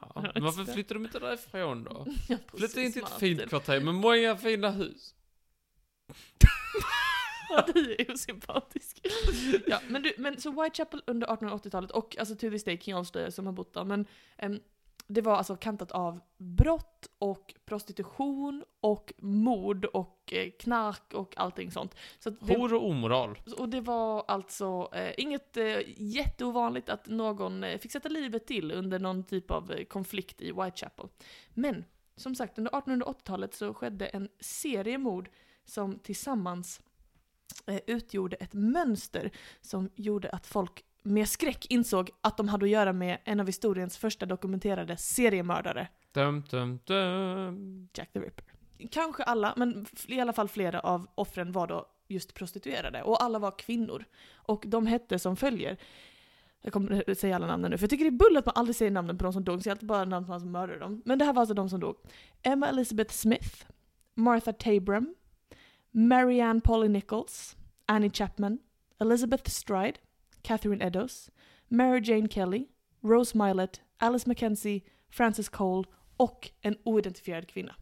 Ja,
Ja,
just
men varför
det.
flyttar de inte därifrån då?
Ja,
Flytta in till ett
Martin.
fint kvarter med många fina hus.
Ja, du är osympatisk. ja, men, du, men så Whitechapel under 1880-talet och alltså till this day King Osler som har bott där, men ehm, det var alltså kantat av brott och prostitution och mord och eh, knark och allting sånt. Så att det,
Hor och omoral.
och det var alltså eh, inget eh, jätteovanligt att någon eh, fick sätta livet till under någon typ av eh, konflikt i Whitechapel. Men som sagt, under 1880-talet så skedde en serie mord som tillsammans eh, utgjorde ett mönster som gjorde att folk med skräck insåg att de hade att göra med en av historiens första dokumenterade seriemördare.
Dum, dum, dum.
Jack the Ripper. Kanske alla, men f- i alla fall flera av offren var då just prostituerade. Och alla var kvinnor. Och de hette som följer. Jag kommer eh, säga alla namnen nu, för jag tycker det är bull att man aldrig säger namnen på de som dog, så jag alltid bara namn på de som mördade dem. Men det här var alltså de som dog. Emma Elizabeth Smith, Martha Tabram, Marianne Polly Nichols, Annie Chapman, Elizabeth Stride, Catherine Eddowes, Mary Jane Kelly, Rose Milet, Alice Mackenzie, Frances Cole och en oidentifierad kvinna.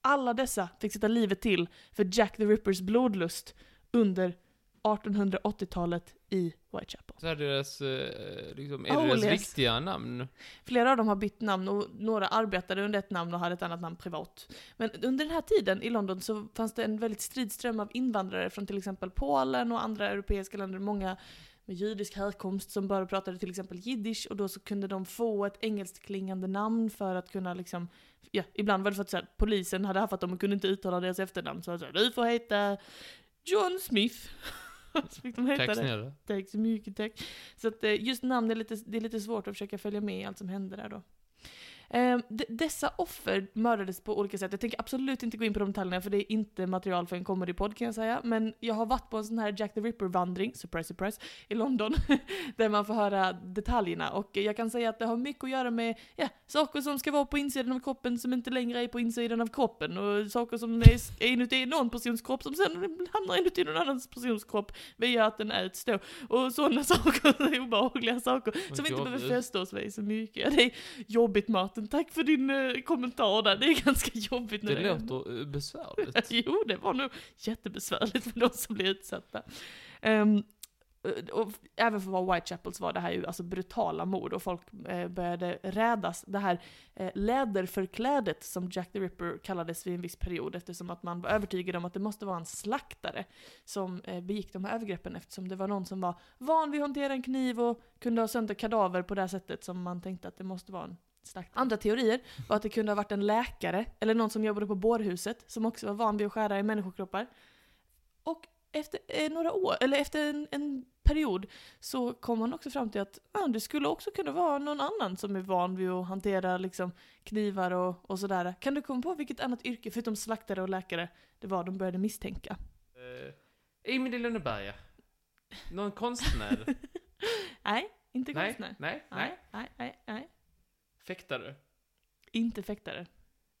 Alla dessa fick sätta livet till för Jack the Rippers blodlust under 1880-talet i Whitechapel.
Så här deras, eh, liksom, är det
Aulis.
deras riktiga namn?
Flera av dem har bytt namn och några arbetade under ett namn och hade ett annat namn privat. Men under den här tiden i London så fanns det en väldigt stridström av invandrare från till exempel Polen och andra europeiska länder. Många med judisk härkomst som bara pratade till exempel jiddisch och då så kunde de få ett engelskklingande namn för att kunna liksom, ja, ibland var det för att så här, polisen hade haft att de kunde inte uttala deras efternamn så de sa du får heta John Smith. så fick de heta
Tack
det.
snälla.
Tack så mycket, tack. Så att eh, just namn är lite, det är lite svårt att försöka följa med i allt som hände där då. Eh, d- Dessa offer mördades på olika sätt. Jag tänker absolut inte gå in på de detaljerna för det är inte material för en comedypodd kan jag säga. Men jag har varit på en sån här Jack the Ripper-vandring, surprise surprise, i London. där man får höra detaljerna. Och jag kan säga att det har mycket att göra med ja, saker som ska vara på insidan av kroppen som inte längre är på insidan av kroppen. Och saker som är är inuti någon persons kropp som sen hamnar inuti någon annans persons kropp via att den äts då. Och sådana saker, obehagliga saker
Men
som vi inte
jag-
behöver fästa oss vid så mycket. Ja, det är jobbigt Martin, tack för din eh, kommentar där. Det är ganska jobbigt när
Det
det,
låter eh, besvärligt.
Jo, det var nog jättebesvärligt för de som blev utsatta. Ehm, och även för vad Whitechapels var det här ju alltså brutala mord och folk eh, började rädas. Det här eh, läderförklädet som Jack the Ripper kallades vid en viss period eftersom att man var övertygad om att det måste vara en slaktare som eh, begick de här övergreppen eftersom det var någon som var van vid att hantera en kniv och kunde ha sönder kadaver på det här sättet som man tänkte att det måste vara en slaktare. Andra teorier var att det kunde ha varit en läkare eller någon som jobbade på bårhuset som också var van vid att skära i människokroppar. Och efter eh, några år, eller efter en, en period, så kom man också fram till att ah, det skulle också kunna vara någon annan som är van vid att hantera liksom, knivar och, och sådär. Kan du komma på vilket annat yrke, förutom slaktare och läkare, det var de började misstänka?
Eh, Emil i Lönneberga. Någon konstnär?
Nej, inte
nej,
konstnär.
nej, nej.
Nej, nej, nej, nej.
Fäktare.
Inte fäktare.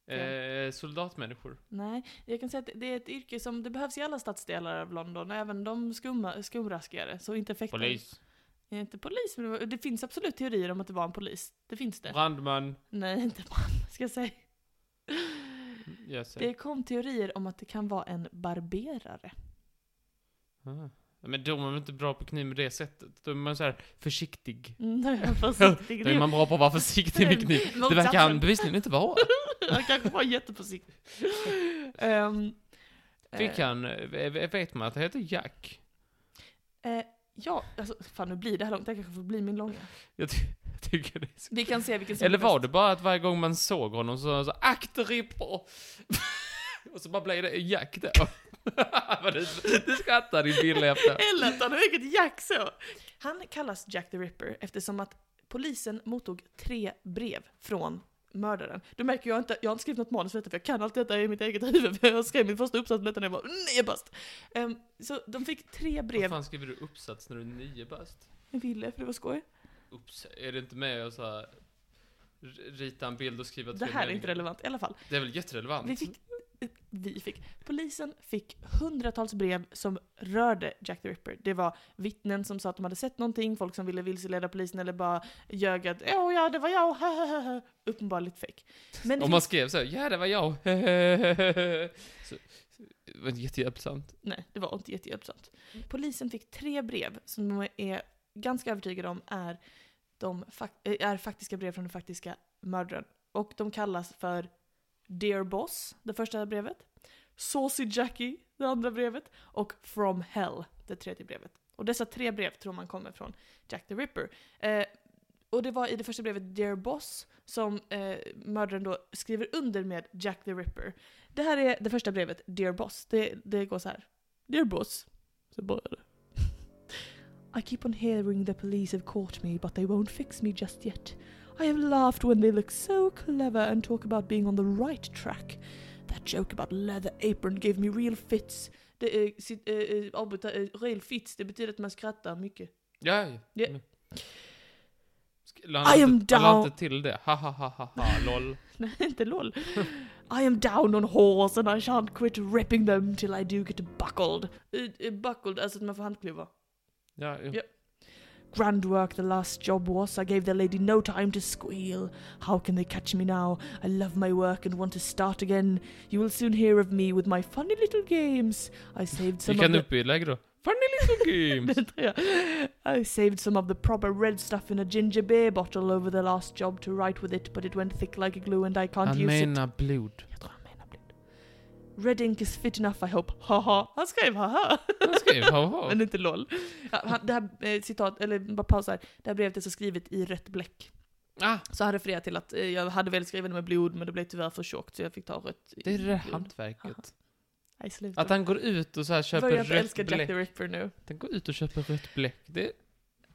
Eh, soldatmänniskor.
Nej, jag kan säga att det är ett yrke som det behövs i alla stadsdelar av London, även de skumma, skumraskigare. Så inte fäktare.
Polis.
Nej, Inte polis, men det, var, det finns absolut teorier om att det var en polis. Det finns det.
Brandman.
Nej, inte man, ska jag säga.
Jag ser.
Det kom teorier om att det kan vara en barberare.
Ah. Men de är väl inte bra på kniv med det sättet? Då är man så här försiktig.
Nej, försiktig.
Då är man bra på att vara försiktig med kniv. Det verkar han bevisligen inte vara.
Han kanske var jätteförsiktig. Ehm,
Fick
eh,
han, eh, vet man att det heter Jack?
eh, ja, alltså fan nu blir det här långt. Det här kanske får bli min långa.
Jag, ty jag tycker det är så...
Vi kan se vilken som
Eller
är
var
bäst.
det bara att varje gång man såg honom så sa han så akt ripper! Och så bara blev det Jack då. Vad du, du skrattar din billiga fnös.
Eller att han högg ett jack så. Han kallas Jack the Ripper eftersom att polisen mottog tre brev från mördaren. Du märker, jag har inte, jag har inte skrivit något manus för detta för jag kan allt detta i mitt eget huvud. för Jag skrev min första uppsats om detta när jag var nio bast. Ehm, så de fick tre
Vad
brev.
fan skriver du uppsats när du är nio bast?
Jag ville, för det var skoj.
Upps, är det inte med att så här, r- rita en bild och skriva
Det
tre
här är
meningar?
inte relevant i alla fall.
Det är väl jätterelevant?
Vi fick vi fick. Polisen fick hundratals brev som rörde Jack the Ripper. Det var vittnen som sa att de hade sett någonting, folk som ville vilseleda polisen eller bara ljög att åh ja, det var jag, uppenbarligen fejk. Men det
Om man
finns-
skrev så här, ja det var jag, så, så- Det var inte jättehjälpsamt.
Nej, det var inte jättehjälpsamt. Polisen fick tre brev som de är ganska övertygade om är, de fak- eh, är faktiska brev från den faktiska mördaren. Och de kallas för Dear Boss, det första brevet. Saucy Jackie, det andra brevet. Och From Hell, det tredje brevet. Och dessa tre brev tror man kommer från Jack the Ripper. Eh, och det var i det första brevet, Dear Boss, som eh, mördaren då skriver under med Jack the Ripper. Det här är det första brevet, Dear Boss. Det, det går så här. Dear Boss. Så börjar det. I keep on hearing the police have caught me but they won't fix me just yet. I have laughed when they look so clever and talk about being on the right track. That joke about leather apron gave me real fits. Det är, sitt- eh, eh, avbryta, eh, real fits, det betyder att man skrattar mycket.
Ja, ja.
Ja.
Men- Sk- la han
I am
inte- han la
down.
inte till det, ha ha ha ha ha, lol.
Nej, inte LOL. I am down on horse and I shan't quit ripping them till I do get buckled. Eh, eh, buckled, alltså att man får handkluvar.
Ja, ja.
Ja. Grand work the last job was. I gave the lady no time to squeal. How can they catch me now? I love my work and want to start again. You will soon hear of me with my funny little games. I saved some
Gick
of
han
the...
upp i läge då? Funny little games!
Det tror jag. I saved some of the proper red stuff in a ginger beer bottle over the last job to write with it, but it went thick like a glue and I can't
Han
use it.
menar blod.
Jag tror han menar blod. Red ink is fit enough I hope. Haha. Han skrev haha.
Han skrev ha ha.
Men inte LOL. Ja, han, det här eh, citat, eller bara pausar. Det här brevet är så skrivet i rött bläck.
Ah,
Så han refererar till att eh, jag hade väl skrivit det med blod men det blev tyvärr för tjockt så jag fick ta rött. i
det är det där
blod.
hantverket.
Nej, sluta.
Att han går ut och så här köper
Börja inte
rött
älska Jack
bläck.
the Ripper nu.
Den går ut och köper rött bläck. Det,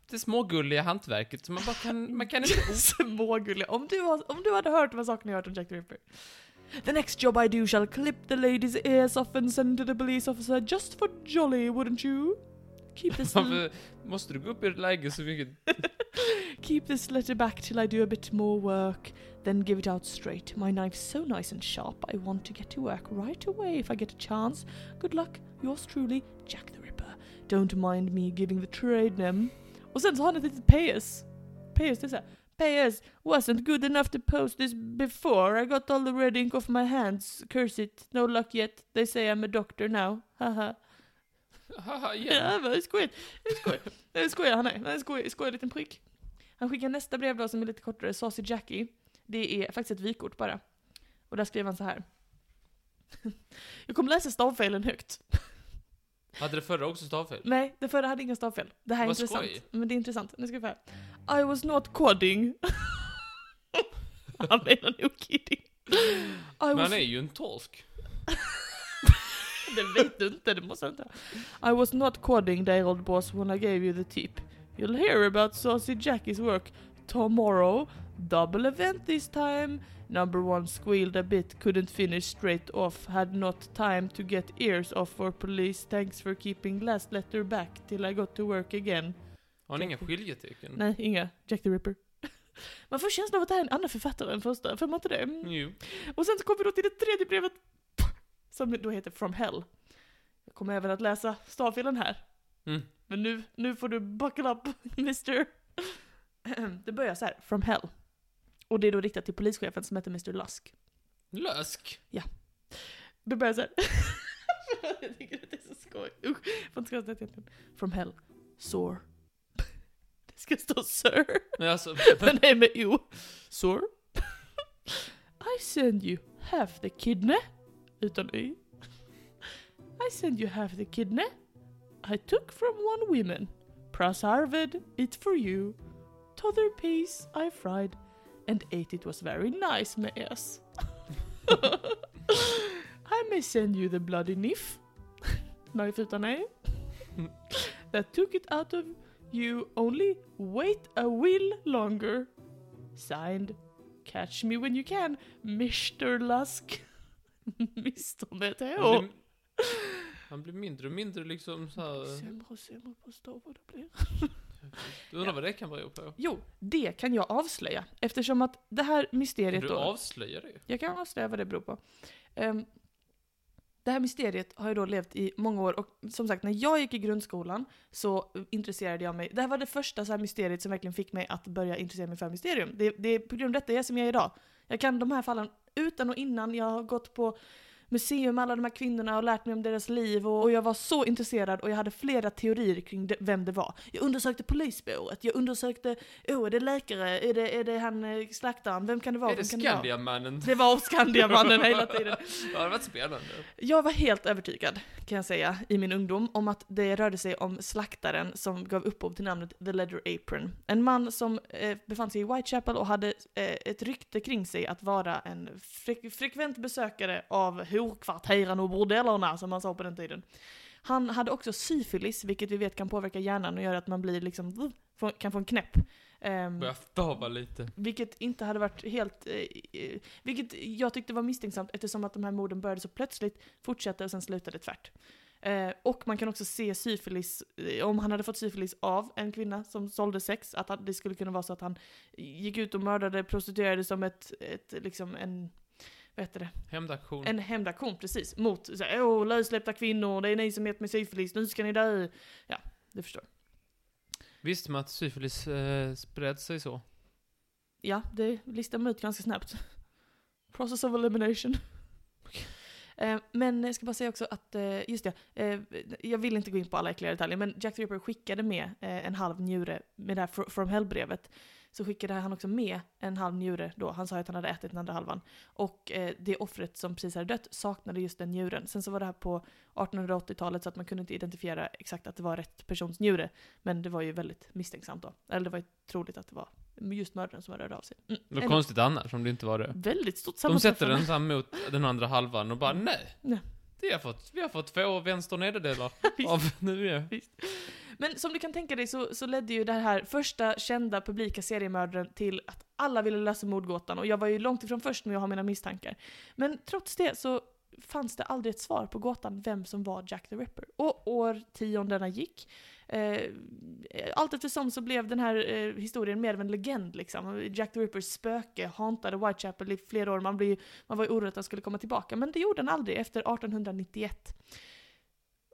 det smågulliga hantverket som man bara kan... Man kan inte...
Smågulliga. Om, du har- om du hade hört de här sakerna jag hört om Jack the Ripper. The next job I do shall clip the lady's ears off and send to the police officer just for jolly, wouldn't you? Keep this,
Varför måste du gå upp i läge så mycket?
keep this letter back till I do a bit more work, then give it out straight. My knife's so nice and sharp, I want to get to work right away if I get a chance. Good luck, yours truly, Jack the Ripper. Don't mind me giving the trade name. Och sen så har han ett litet PS. PS, det är såhär. PS wasn't good enough to post this before. I got all the red ink off my hands. Curse it. No luck yet. They say I'm a doctor now. Haha.
Haha, igen.
Ja, men skoj. Skoj. Nej, skoj. Han är. Nej, skoj. Skoj, liten prick. Han skickar nästa brev då som är lite kortare. Saucy Jackie. Det är faktiskt ett vykort bara. Och där skriver han så här. Jag kommer läsa stavfelen högt.
Hade det förra också stavfel?
Nej, det förra hade inga stavfel. Det här är
Vad
intressant.
skoj.
Men det är intressant. Nu ska vi få höra. I was not coding. han menar nog kidding. I
Men
was
han är ju en torsk.
Det vet du inte, det måste jag inte. I was not coding there old boss when I gave you the tip. You'll hear about Saucy Jackie's work tomorrow. Double event this time. Number one squealed a bit, couldn't finish straight off, had not time to get ears off for police. Thanks for keeping last letter back till I got to work again.
Har han inga skiljetecken?
Nej, inga. Jack the Ripper. Man får känslan av att det här är en annan författare än första, får man inte det? Mm.
Jo.
Och sen så kommer vi då till det tredje brevet. Som då heter From Hell. Jag kommer även att läsa stavfelen här.
Mm.
Men nu, nu får du buckle up, mister. Det börjar så här, From Hell. Och det är då riktat till polischefen som heter Mr Lusk.
Lösk.
Det börjar så här. Jag tycker att det är så skoj. Usch, jag får inte skratta åt det egentligen. From Hell. Sore. Det ska stå Sir.
Men alltså...
Den är med O. Sir? I send you half the kidney. Utan Y. I send you half the kidney. I took from one woman. Pras Harvard, it for you. T'other piece I fried. And ate it was very nice, my ass. I may send you the bloody knife. Knife utan E. That took it out of You only wait a will longer. Signed, catch me when you can, Mr Lusk. Mr med ett
Han
H.
blir, han blir mindre och mindre liksom så här.
Sämre och sämre på att stava det blir.
Du undrar vad det kan bero på?
Jo, det kan jag avslöja eftersom att det här
Kan
mysteriet
du
då...
avslöja det?
Jag kan avslöja vad det beror på. Ehm, Det här mysteriet har ju då levt i många år och som sagt, när jag gick i grundskolan så intresserade jag mig. Det här var det första så här mysteriet som verkligen fick mig att börja intressera mig för mysterium. Det, det är på grund av detta jag är som jag är idag. Jag kan de här fallen utan och innan. Jag har gått på museum med alla de här kvinnorna och lärt mig om deras liv och, och jag var så intresserad och jag hade flera teorier kring de, vem det var. Jag undersökte polisspåret, jag undersökte, åh är det läkare, är det, är det han eh, slaktaren, vem kan det vara?
är det
vem kan vara?
Skandiamannen?
Det var Skandiamannen hela tiden.
det hade varit spännande.
Jag var helt övertygad, kan jag säga, i min ungdom om att det rörde sig om slaktaren som gav upphov till namnet The Leather Apron. En man som eh, befann sig i Whitechapel och hade eh, ett rykte kring sig att vara en fre- frekvent besökare av horkvarteren och bordellerna, som man sa på den tiden. Han hade också syfilis, vilket vi vet kan påverka hjärnan och göra att man blir liksom, kan få en knäpp. Ehm,
Börja stava lite.
vilket inte hade varit helt... Eh, eh, vilket jag tyckte var misstänksamt eftersom att de här morden började så plötsligt, fortsatte och sen slutade tvärt. Eh, och man kan också se syfilis, eh, om han hade fått syfilis av en kvinna som sålde sex, att han, det skulle kunna vara så att han gick ut och mördade prostituerade som ett, ett liksom en... Vad heter det?
Hämndaktion.
En hämndaktion, precis. Mot så här, åh, lössläppta kvinnor, det är ni som gett mig syfilis, nu ska ni dö. Ja, du förstår.
Visste man att syfilis eh, spred sig så?
Ja, det listar man ut ganska snabbt. Process of elimination. Eh, Men jag ska bara säga också att, eh, just det, eh, jag vill inte gå in på alla ytterligare detaljer, men Jack the Ripper skickade med eh, en halv njure med det här Fr- From Hell-brevet. Så skickade han också med en halv njure då, han sa ju att han hade ätit den andra halvan. Och eh, det offret som precis hade dött saknade just den njuren. Sen så var det här på 1880-talet så att man kunde inte identifiera exakt att det var rätt persons njure. Men det var ju väldigt misstänksamt då. Eller det var ju troligt att det var just mördaren som hade rört av sig. Mm.
Det var
En-
konstigt annars om det inte var det.
Väldigt stort
De sätter
sammanträffande.
den så här mot den andra halvan och bara nej.
Nej.
Det har fått, vi har fått två vänster nederdelar
Visst.
av nu är.
Men som du kan tänka dig så, så ledde ju det här första kända publika seriemördaren till att alla ville lösa mordgåtan och jag var ju långt ifrån först med att ha mina misstankar. Men trots det så fanns det aldrig ett svar på gåtan vem som var Jack the Ripper. Och årtiondena gick. Eh, allt eftersom så blev den här eh, historien mer av en legend liksom. Jack the Rippers spöke hantade Whitechapel i flera år. Man, blev, ju- man var ju orolig att han skulle komma tillbaka, men det gjorde han aldrig efter 1891.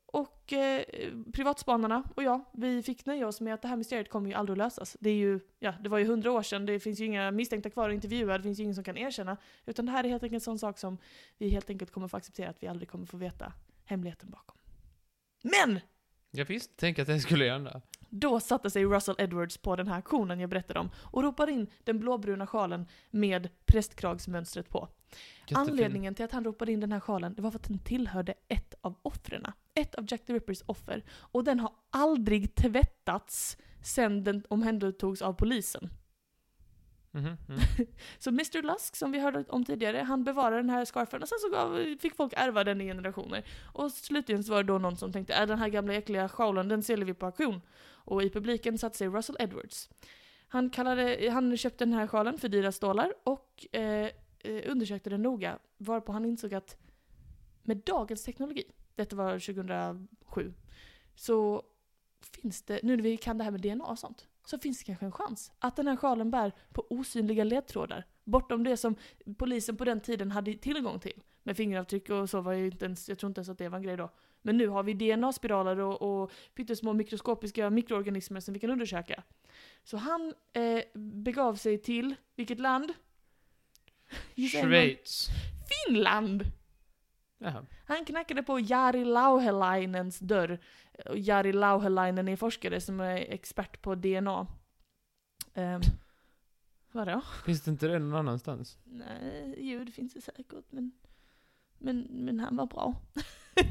Och eh, privatspanarna och jag, vi fick nöja oss med att det här mysteriet kommer ju aldrig att lösas. Det, är ju, ja, det var ju hundra år sedan, det finns ju inga misstänkta kvar att intervjua, det finns ju ingen som kan erkänna. Utan det här är helt enkelt en sån sak som vi helt enkelt kommer få acceptera att vi aldrig kommer få veta hemligheten bakom. Men!
Jag visste, tänkte att det skulle hända.
Då satte sig Russell Edwards på den här aktionen jag berättade om och ropade in den blåbruna sjalen med prästkragsmönstret på.
Jättefin.
Anledningen till att han ropade in den här sjalen det var för att den tillhörde ett av offren. Ett av Jack the Rippers offer. Och den har aldrig tvättats sen den omhändertogs av polisen.
Mhm, mhm.
Så Mr Lusk, som vi hörde om tidigare, han bevarade den här scarfen och sen så gav, fick folk ärva den i generationer. Och slutligen så var det då någon som tänkte att den här gamla äckliga sjalen, den säljer vi på auktion. Och i publiken satte sig Russell Edwards. Han, kallade, han köpte den här sjalen för dyra stålar och eh, eh, undersökte den noga, varpå han insåg att med dagens teknologi, detta var 2007, så finns det, nu när vi kan det här med DNA och sånt, så finns det kanske en chans att den här sjalen bär på osynliga ledtrådar. Bortom det som polisen på den tiden hade tillgång till. Med fingeravtryck och så var ju inte ens, jag tror inte ens att det var en grej då. Men nu har vi DNA-spiraler och, och pyttesmå mikroskopiska mikroorganismer som vi kan undersöka. Så han eh, begav sig till, vilket land? Gissa en gång.
Schweiz.
Finland!
Jaha.
Han knackade på Jari Lauhelainens dörr. Och Jari Lauhelainen är forskare som är expert på DNA. Um, vadå?
Finns det inte det någon annanstans?
Nej, jo det finns det säkert men, men, men han var bra.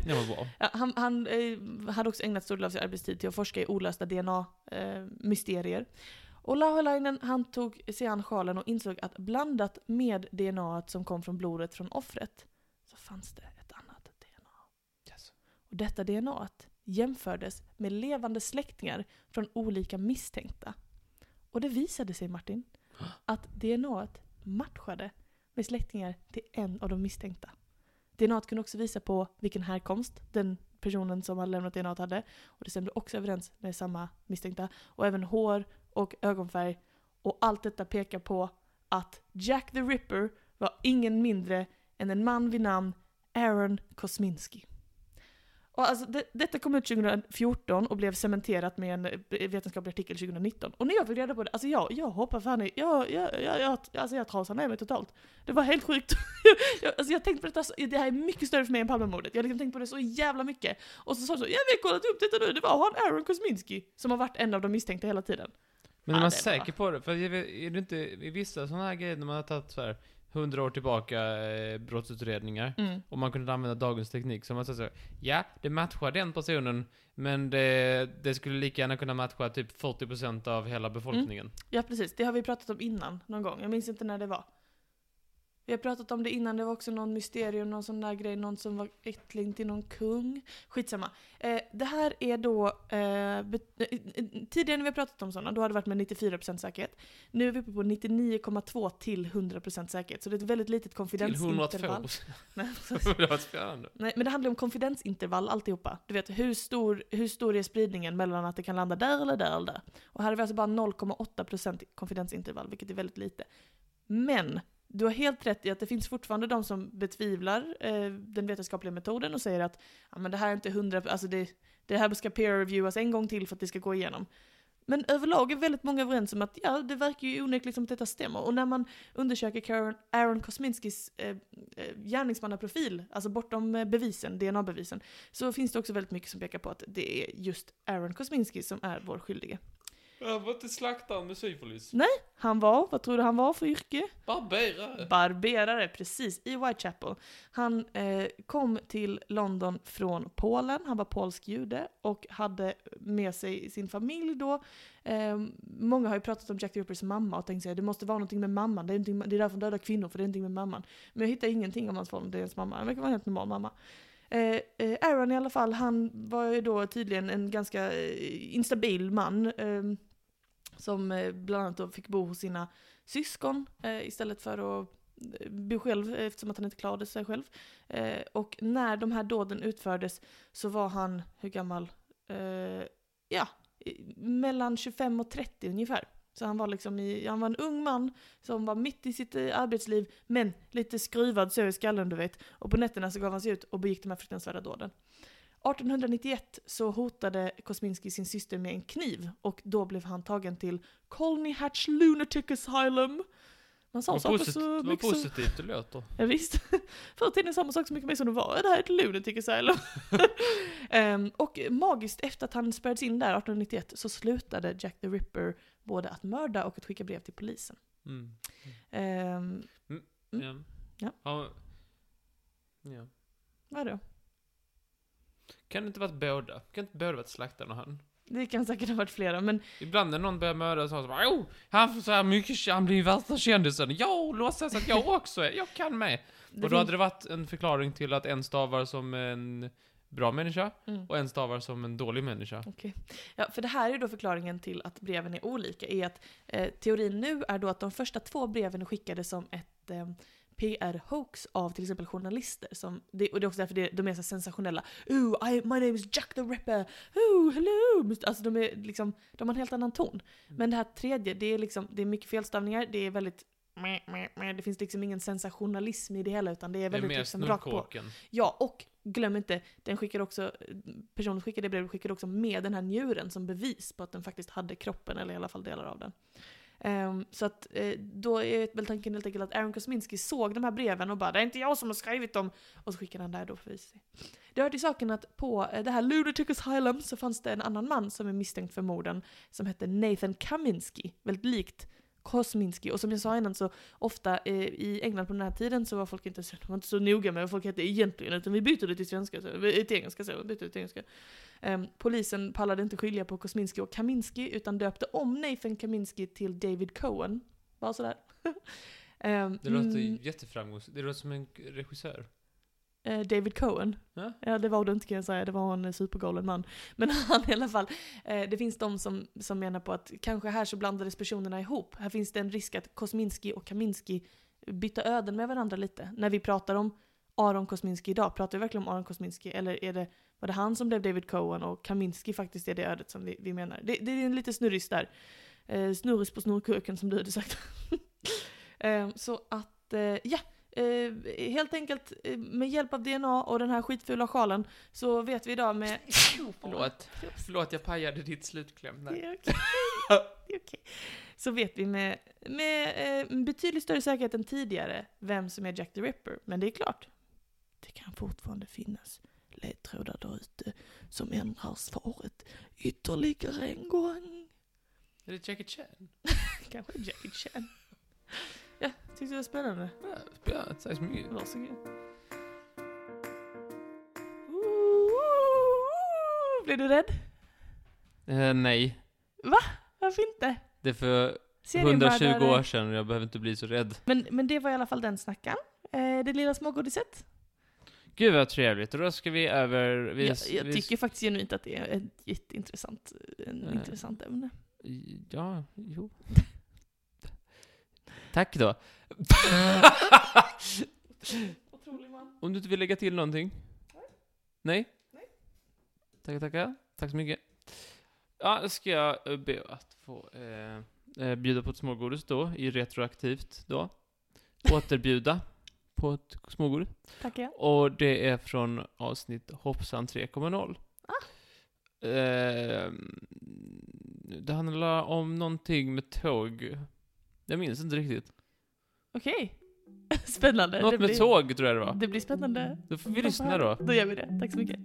Det var bra.
Ja, han han eh, hade också ägnat stor del av sin arbetstid till att forska i olösta DNA-mysterier. eh, och Lauhelainen han tog sig an sjalen och insåg att blandat med DNA som kom från blodet från offret så fanns det ett annat DNA.
Yes.
Och detta DNA jämfördes med levande släktingar från olika misstänkta. Och det visade sig, Martin, att DNA matchade med släktingar till en av de misstänkta. DNA kunde också visa på vilken härkomst den personen som hade lämnat DNA hade. Och det stämde också överens med samma misstänkta. Och även hår och ögonfärg. Och allt detta pekar på att Jack the Ripper var ingen mindre än en man vid namn Aaron Kosminski. Och alltså, det, detta kom ut 2014 och blev cementerat med en eh, vetenskaplig artikel 2019. Och när jag fick reda på det, alltså jag, jag hoppade fan i, jag, jag, jag, jag, alltså jag trasade ner mig totalt. Det var helt sjukt. jag, alltså jag tänkte på detta, så- det här är mycket större för mig än Palmemordet. Jag har liksom tänkt på det så jävla mycket. Och så sa jag så, ja vi har kollat upp detta nu, det var han Aaron Kosminski som har varit en av de misstänkta hela tiden.
Men är
Ja,
man
det är
säker på det? För jag vet- är det inte i vissa sådana här grejer när man har tagit så här 100 år tillbaka eh, brottsutredningar
Mm.
och man kunde använda dagens teknik så man sa så här, ja, det matchar den personen men det, det skulle lika gärna kunna matcha typ 40% av hela befolkningen.
Ja precis, det har vi pratat om innan någon gång. Jag minns inte när det var. Vi har pratat om det innan, det var också någon mysterium, någon sån där grej, någon som var ättling till någon kung. Skitsamma. Eh, det här är då... Eh, bet- eh, eh, tidigare när vi har pratat om sådana, då har det varit med 94% säkerhet. Nu är vi uppe på 99,2 till 100% säkerhet. Så det är ett väldigt litet
Till
konfidensintervall.
102%.
Nej,
det var spännande.
Nej, men det handlar om konfidensintervall alltihopa. Du vet, hur stor, hur stor är spridningen mellan att det kan landa där eller där eller där? Och här är vi alltså bara 0,8% konfidensintervall, vilket är väldigt lite. Men, du har helt rätt i att det finns fortfarande de som betvivlar eh, den vetenskapliga metoden och säger att ja, men det här är inte 100, alltså det, det här ska peer reviewas en gång till för att det ska gå igenom. Men överlag är väldigt många överens om att ja, det verkar ju onekligen som att detta stämmer. Och när man undersöker Karen, Aaron Kosminskis eh, eh, gärningsmannaprofil, alltså bortom eh, bevisen, DNA-bevisen, så finns det också väldigt mycket som pekar på att det är just Aaron Kosminski som är vår skyldige.
Jag var inte slaktad med syfilis.
Han var, vad tror du han var för yrke?
Barberare.
Mm. Barberare, precis, i Whitechapel. Han eh, kom till London från Polen, han var polsk jude och hade med sig sin familj då. Eh, många har ju pratat om Jack the Rippers mamma och tänkt sig det måste vara någonting med mamman, det är, någonting- det är därför de dödar kvinnor, för det är någonting med mamman. Men jag hittar ingenting om hans förhållande till hans mamma, han verkar vara en helt normal mamma. Eh, eh, Aaron i alla fall, han var ju då tydligen en ganska eh, instabil man. Eh, som eh, bland annat då fick bo hos sina syskon eh, istället för att bo själv eftersom att han inte klarade sig själv. Eh, och när de här dåden utfördes så var han, hur gammal? Eh, ja, i- mellan 25 och 30 ungefär. Så han var liksom i, han var en ung man som var mitt i sitt eh, arbetsliv men lite skruvad så i skallen du vet. Och på nätterna så gav han sig ut och begick de här fruktansvärda dåden. 1891 så hotade Kosminski sin syster med en kniv och då blev han tagen till Colney Hatch Lunatic Asylum. Man sa
Vad
saker
posit-
så
vad
mycket som...
positivt det låter.
Ja, visst. Förr i tiden samma sak så mycket mer som det var. Det här är ett lunatic asylum. Ehm, och magiskt, efter att han spärrades in där 1891 så slutade Jack the Ripper både att mörda och att skicka brev till polisen.
Mm.
Um,
Ja.
Ja.
Ja. ja.
vadå?
Kan det inte varit båda? Kan inte båda varit slaktaren och han?
Det kan säkert ha varit flera, men
Ibland när någon börjar mörda så har man så bara, "Åh, han får så här mycket, han blir värsta kändisen. Jag låtsas att jag också är, jag kan med.
det
och då hade
finns-
det varit en förklaring till att en stavar som en bra människa
Mm.
och en stavar som en dålig människa.
Ja, för det här är ju då förklaringen till att breven är olika. Är att, eh, teorin nu är då att de första två breven är skickade som ett eh, PR-hoax av till exempel journalister. Som, det, och det är också därför det, de är så sensationella. Ooh, I, my name is Jack the Ripper! Ooh, hello! Alltså de, är liksom, de har en helt annan ton. Men det här tredje, det är, liksom, det är mycket felstavningar, det är väldigt meh, meh, meh. det finns liksom ingen sensationalism i det hela utan det är
Det är
väldigt
mer
liksom, rakt på.
snorkåken.
Ja, och glöm inte, den skickade också, personen som skickade brevet skickade också med den här njuren som bevis på att den faktiskt hade kroppen, eller i alla fall delar av den. Ehm, så att eh, då är väl tanken helt enkelt att Aaron Kosminski såg de här breven och bara “Det är inte jag som har skrivit dem” och så skickade han där då för sig. Det hör till saken att på eh, det här Lunatic Asylum så fanns det en annan man som är misstänkt för morden som hette Nathan Kaminski, väldigt likt Kosminski. Och som jag sa innan så ofta eh, i England på den här tiden så var folk inte så, de var inte så noga med vad folk hette egentligen, utan vi bytte det till svenska, så, vi- till engelska så, vi bytte det till engelska. Ehm, polisen pallade inte skilja på Kosminski och Kaminski, utan döpte om Nathan Kaminski till David Cohen. Bara sådär. Ehm,
Det låter
mm,
mm. jätteframgångsrikt. Det låter som en regissör.
eh, David Cohen.
Ja.
Ja, det var du inte kan jag säga, det var en eh, supergalen man. Men han i alla fall, eh, det finns de som, som menar på att kanske här så blandades personerna ihop. Här finns det en risk att Kosminski och Kaminski bytte öden med varandra lite. När vi pratar om Aron Kosminski idag, pratar vi verkligen om Aron Kosminski eller är det, var det han som blev David Cohen och Kaminski faktiskt är det ödet som vi, vi menar? Det, det är en liten snurris där. Eh, snurris på snorkurken som du hade sagt. eh, så att, eh, ja. eh, helt enkelt eh, med hjälp av DNA och den här skitfula sjalen så vet vi idag med...
Förlåt. Förlåt, jag pajade ditt slutkläm
Det
där.
är okej. Det är okej. Så vet vi med, med eh, betydligt större säkerhet än tidigare vem som är Jack the Ripper. Men det är klart, det kan fortfarande finnas ledtrådar där ute som ändrar svaret ytterligare en gång.
Är det Jackie Chan?
Kanske Jackie Chan. Ja, tyckte det var spännande.
Ja, det sägs mycket.
Varsågod. Ooh, Blev du rädd?
Eh, nej,
Varför inte?
det är för
Seriemördare.
120 år sedan och jag behöver inte bli så rädd.
Men, men det var i alla fall den snackan. Eh, det lilla smågodiset.
Gud vad trevligt, och då ska vi över... Vi,
jag jag
vi,
tycker faktiskt genuint att det är ett jätteintressant en
Eh.
intressant ämne.
Ja, jo. Tack då.
Otrolig man.
Om du inte vill lägga till någonting? Nej?
Nej.
Tackar, tackar. Tack så mycket. Ja, då ska jag eh, be att få eh, eh, bjuda på ett smågodis då, i retroaktivt då. Återbjuda på ett smågodis.
Tackar jag.
Och det är från avsnitt Hoppsan 3.0. Eh,
Ehm,
det handlar om någonting med tåg. Jag minns inte riktigt.
Okej. Spännande.
Något med tåg tror jag det var.
Det blir spännande.
Då får vi lyssna då.
Då gör vi det. Tack så mycket.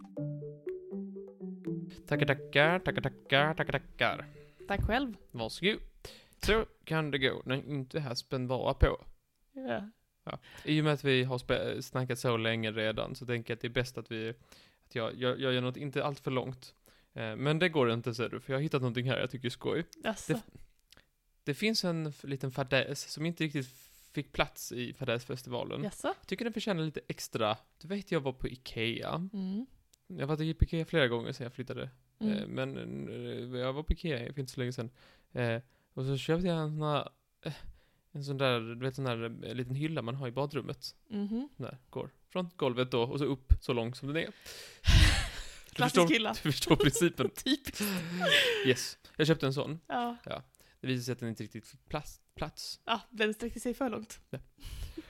Tackar, tackar, tackar, tackar, tackar, tackar.
Tack själv.
Varsågod. Så kan det gå när inte haspen vara på.
Ja.
I och med att vi har spe- snackat så länge redan så tänker jag att det är bäst att vi, att jag, jag, jag gör något inte allt för långt. Eh, Men det går inte ser du, för jag har hittat någonting här jag tycker är skoj.
Alltså.
Det- Det finns en f- liten fadäs som inte riktigt fick plats i
mm.
fadäsfestivalen.
Jaså?
Jag tycker den förtjänar lite extra. Du vet, jag var på Ikea.
Mm.
Jag har varit på Ikea flera gånger sedan jag flyttade.
Ehm.
Mm.
Eh, Men eh, jag var på Ikea för inte så länge sedan. Eh, Och så köpte jag en sån här, eh, en sån där, du vet sån där eh, liten hylla man har i badrummet.
Mhm.
där går. Från golvet då och så upp så långt som den är. Du förstår,
Klassisk killa.
du förstår principen.
Typiskt.
Yes. Jag köpte en sån.
Ja.
Det visade sig att den inte riktigt fick plats. plats.
ja, den sträckte sig för långt.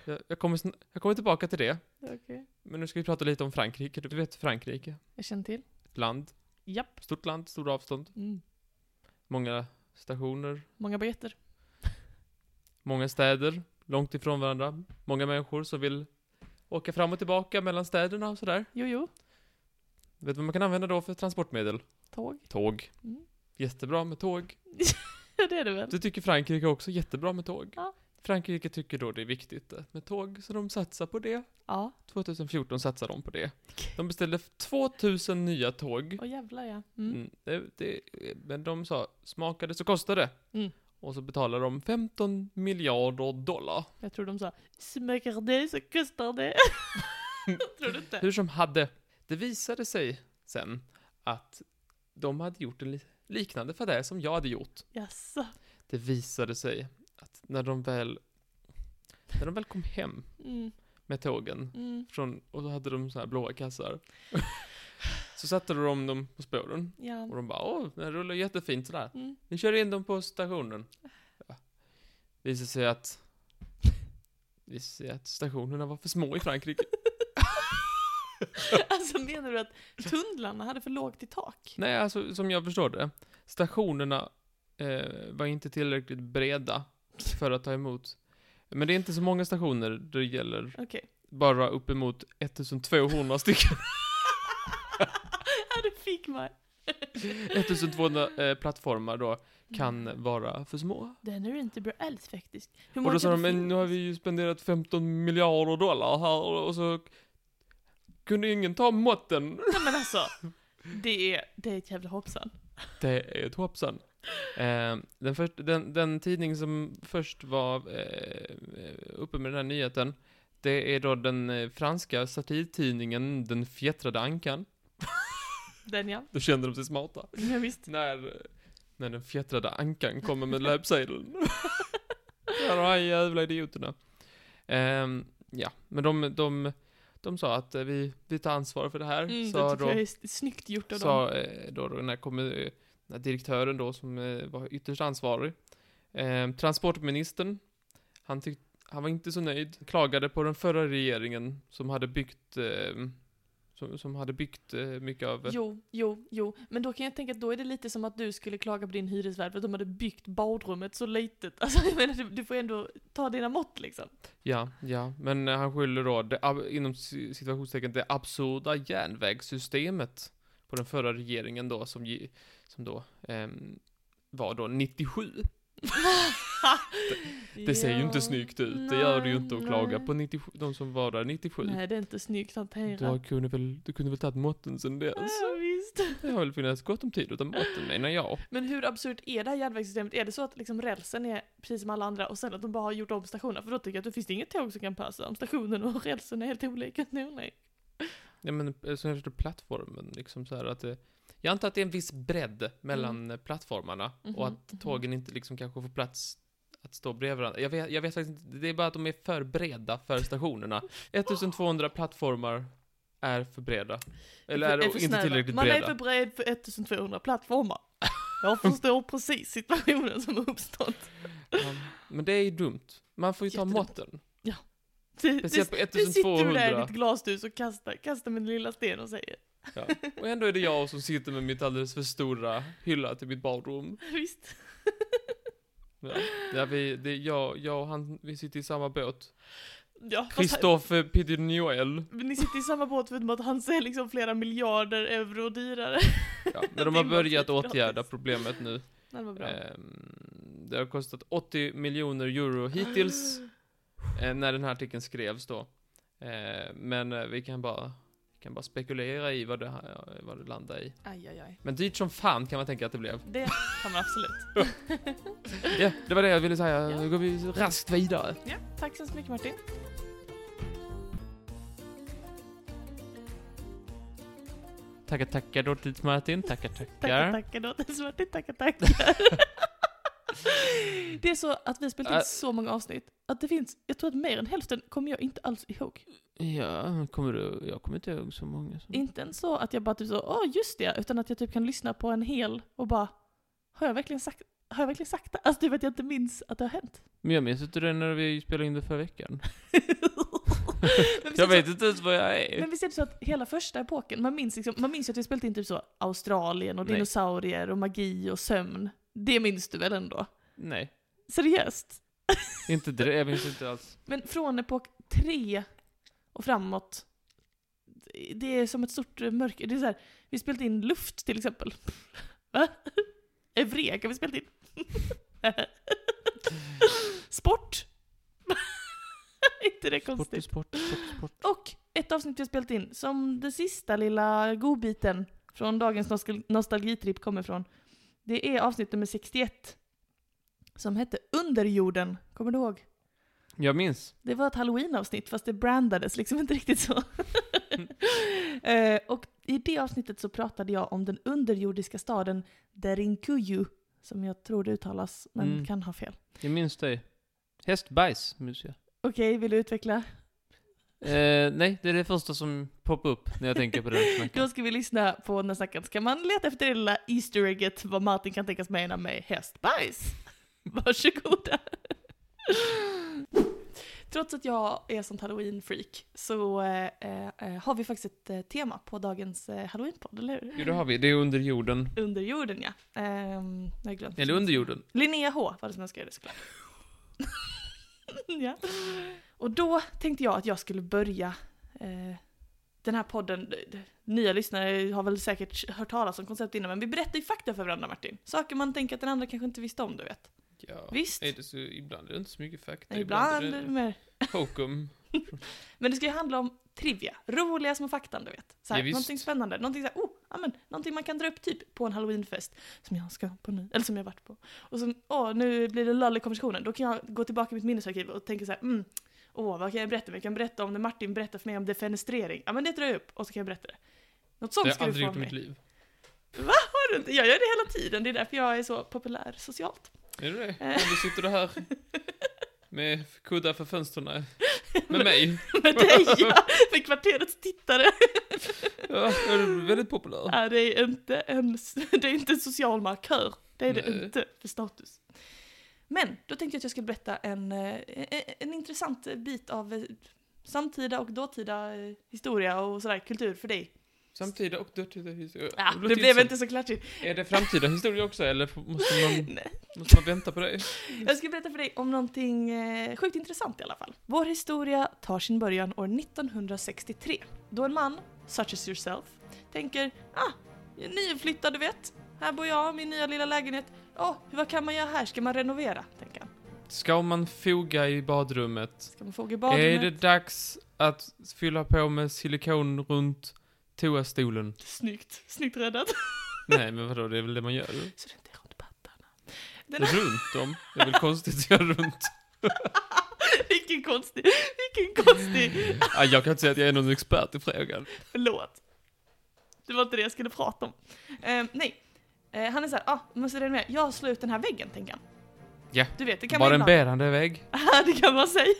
Jag, jag, kommer sn- jag kommer tillbaka till det.
Okej.
Men nu ska vi prata lite om Frankrike. Du vet Frankrike?
Jag känner till.
Ett land.
Japp.
Stort land, stora avstånd.
Mm.
Många stationer.
Många biljetter.
Många städer. Långt ifrån varandra. Många människor som vill åka fram och tillbaka mellan städerna och sådär.
Jo, jo.
Vet du vad man kan använda då för transportmedel?
Tåg.
Tåg.
Mm.
Jättebra med tåg.
Ja, det är det väl?
Det tycker Frankrike också jättebra med tåg.
Ja.
Frankrike tycker då det är viktigt att med tåg, så de satsar på det.
Ja.
2014 satsar de på det. De beställde 2000 nya tåg.
Åh jävlar ja. Mm.
Mm, det, det, men de sa, smakade så kostade det.
Mm.
Och så betalar de 15 miljarder dollar.
Jag tror de sa smäcker det så kostar det. tror du inte?
Hur som hade, det visade sig sen att de hade gjort en li- liknande fadäs som jag hade gjort.
Jaså?
Det visade sig att när de väl, när de väl kom hem
Mm,
med tågen
mm,
från, och då hade de så här blåa kassar. så satte de dem på spåren. Och
ja.
de bara åh, den här rullar jättefint sådär.
Mm.
Vi kör in dem på stationen. Ja. Visade sig att, visade sig att stationerna var för små i Frankrike.
Alltså menar du att tunnlarna hade för lågt i tak?
Nej, alltså som jag förstår det. Stationerna eh, var inte tillräckligt breda för att ta emot. Men det är inte så många stationer det gäller.
Okej.
Bara uppemot 1200 stycken.
ja, du fick mig.
1200 eh, plattformar då. kan vara för små.
Den är du inte bra alls faktiskt. Hur
Och då sa
kan
de,
det
men nu har
finnas?"
vi ju spenderat 15 miljarder dollar här och så kunde ingen ta måtten.
Nej men alltså. Det är, det är ett jävla hoppsan.
Det är ett hoppsan. Eh, den, först, den, den tidning som först var eh, uppe med den här nyheten, det är då den eh, franska satirtidningen Den fjättrade ankan.
Den ja.
Då kände de sig smarta.
Ja, visst.
När, när den fjättrade ankan kommer med löpsedeln. ja, de här jävla idioterna. Ehm, ja, men de, de, de sa att eh, vi, vi tar ansvar för det här.
Mm, det
sa
tycker jag
då,
är s- snyggt gjort av dem.
sa, eh, då, då den här kommer, eh, den här direktören då som eh, var ytterst ansvarig. Ehm, transportministern, han, tyck, Han var inte så nöjd. Klagade på den förra regeringen som hade byggt, eh, som, som hade byggt eh, mycket av...
Jo, jo, jo. Men då kan jag tänka att då är det lite som att du skulle klaga på din hyresvärd för att de hade byggt badrummet så litet. Alltså jag menar, du, du får ändå ta dina mått liksom.
Ja, ja. Men eh, han skyller då, det, ab- inom ci- situationstecken, det absurda järnvägssystemet på den förra regeringen då, som, ge- som då ehm, var då 97. Det ser ju inte snyggt ut. det gör det ju inte att klaga på 97, de som var där 97.
Nej, det är inte snyggt hanterat.
Du har- kunde väl, du kunde väl tagit måtten sen dess?
Ja, visst.
Det har väl funnits gott om tid att ta måtten menar jag.
Men hur absurt är det här järnvägssystemet? Är det så att liksom rälsen är precis som alla andra och sen att de bara har gjort om stationerna? För då tycker jag att det finns inget tåg som kan passa om stationen och rälsen är helt olika. Nej, nej.
Ja men eh, så jag förstår plattformen liksom så här att det, Jag antar att det är en viss bredd mellan
Mm.
eh, plattformarna
Mhm,
och att
mhm.
tågen inte liksom kanske får plats att stå bredvid varandra. Jag vet, jag vet faktiskt inte, det är bara att de är för breda för stationerna. 1200 plattformar är för breda. Eller är,
För- för
inte
snäva.
tillräckligt
Man är
breda.
för bred för 1200 plattformar. Jag förstår precis situationen som har uppstått.
Ja, Men det är ju dumt. Man får ju ta
Jättedumt.
måtten.
Du, du,
Speciellt på
du sitter du
1200.
där i ditt glashus och kastar, kastar med den lilla sten och säger
Ja. Och ändå är det jag som sitter med mitt alldeles för stora hylla till mitt badrum.
visst.
Ja. Där vi, det är jag, jag och han, vi sitter i samma båt.
Ja, fast
Christophe Pidinoel.
han- Ni sitter i samma båt förutom att han säger liksom flera miljarder euro dyrare.
Ja, men de
Det var
har börjat
typ gratis.
åtgärda problemet nu.
Nej, Det var
Eh.
bra.
Ehm, Det har kostat 80 miljoner euro hittills, eh, när den här artikeln skrevs då. Eh, Men eh, vi kan bara, vi kan bara spekulera i vad det, här- eh, vad det landar i.
Aj, aj, aj.
Men dyrt som fan kan man tänka att det blev.
Det kan man absolut.
Ja, det var det jag ville säga.
Ja.
Nu går vi raskt vidare.
Ja, tack så hemskt mycket Martin.
Tackar, tackar då till Martin. Tackar,
Tackar,
tackar.
tackar då. Det är svårt. Det är Tackar, tackar. Det är så att vi har spelat in
Äh.
så många avsnitt att det finns, jag tror att mer än hälften kommer jag inte alls ihåg.
Ja, kommer du, jag kommer inte ihåg så många. Som...
Inte ens så att jag bara typ så, åh just det, utan att jag typ kan lyssna på en hel och bara, har jag verkligen sagt, har jag verkligen sagt det? Alltså typ att jag inte minns att det har hänt.
Men jag minns inte det när vi spelade in det förra veckan.
Men vi
Jag
ser
vet inte ens vad jag är.
Men visst är det så att hela första epoken, man minns, liksom, man minns ju att vi spelat in typ så Australien och
Nej.
dinosaurier och magi och sömn. Det minns du väl ändå?
Nej,
Seriöst?
inte det. Jag minns inte alls.
Men från epok tre och framåt, det är som ett stort mörker. Det är så här, vi har spelat in luft till exempel. Va? Evrek har vi spelat in. Sport? Inte det
Sport,
konstigt?
sport, sport, sport.
Och ett avsnitt vi har spelat in, som den sista lilla godbiten från dagens nostal- nostalgitripp kommer från. Det är avsnitt nummer 61. Som hette Underjorden, kommer du ihåg?
Jag minns.
Det var ett halloween-avsnitt fast det brandades liksom inte riktigt så. Eh, och i det avsnittet så pratade jag om den underjordiska staden Derinkuju, som jag tror det uttalas, men
Mm.
kan ha fel.
Jag minns dig. Hästbajs, minns jag.
Okej, vill du utveckla?
Eh, nej, det är det första som poppar upp när jag tänker på det här snacket.
Då ska vi lyssna på när snacket så kan man leta efter det lilla Easter egget vad Martin kan tänkas mena med hästbajs. Varsågoda. Trots att jag är sånt halloween-freak så eh, eh, har vi faktiskt ett eh, tema på dagens eh, halloween-podd, eller hur?
Jo, det har vi. Det är under jorden.
Under jorden, ja. Ehm, jag har glömt.
Eller under jorden.
Linnea H var det som önskade det såklart. ja. Och då tänkte jag att jag skulle börja eh, den här podden. d- d- Nya lyssnare har väl säkert hört talas om konceptet innan men vi berättar ju fakta för varandra Martin. Saker man tänker att den andra kanske inte visste om du vet.
Ja.
Visst?
Är det så, ibland är det inte så mycket fakta.
Ibland är det
är
mer.
det hokum.
Men det ska ju handla om trivia, roliga små faktan du vet. Så här,
Ja, visst.
någonting spännande, någonting, så här, oh, ja, men, någonting man kan dra upp typ på en halloweenfest som jag ska på nu, eller som jag varit på. Och som, åh nu blir det lall i konversationen, då kan jag gå tillbaka i mitt minnesarkiv och tänka så här, mm, åh vad kan jag berätta? Men Jag kan berätta om när Martin berättar för mig om defenestrering, ja men det drar jag upp och så kan jag berätta det. Något
Det har
sånt
jag
ska du
aldrig
få
gjort
av
i mitt
mig.
liv.
Har du inte? Jag gör det hela tiden, det är därför jag är så populär socialt.
Är det det?
Eh.
Ja, Du sitter du här med kuddar för fönstren. Med mig.
Med dig ja, med kvarterets tittare.
Ja, är du väldigt populär.
Nej, det är inte en, det är inte en social markör. Det är det
Nej.
inte för status. Men då tänkte jag att jag skulle berätta en, eh, en, en intressant bit av eh, samtida och dåtida eh, historia och sådär kultur för dig.
Samtida och dåtida historia.
Ja,
Det
det
låter
blev
intressant.
inte så klatschigt.
Är det framtida historia också eller f- måste man,
Nej.
måste man vänta på det?
Jag ska berätta för dig om någonting eh, sjukt intressant i alla fall. Vår historia tar sin början år 1963 då en man, such as yourself, tänker ah, jag är nyinflyttad du vet, här bor jag, min nya lilla lägenhet. Ja, vad kan man göra här? Ska man renovera? Tänker han.
Ska man foga i badrummet?
Ska man fråga i badrummet?
Är det dags att fylla på med silikon runt toastolen?
Snyggt, snyggt räddat.
Nej, men vadå, det är väl det man gör?
Så det inte är runt pattarna.
Runt dem? Det är väl konstigt att göra runt?
vilken konstig, vilken konstig,
Ah, jag kan inte säga att jag är någon expert i frågan.
förlåt. Det var inte det jag skulle prata om. Eh, nej, Eh, han är såhär, ah, måste renovera, jag slår ut den här väggen, tänker han.
Ja.
Du vet, det kan man
Var det en
ibland-
bärande vägg?
Ja, det kan man säga.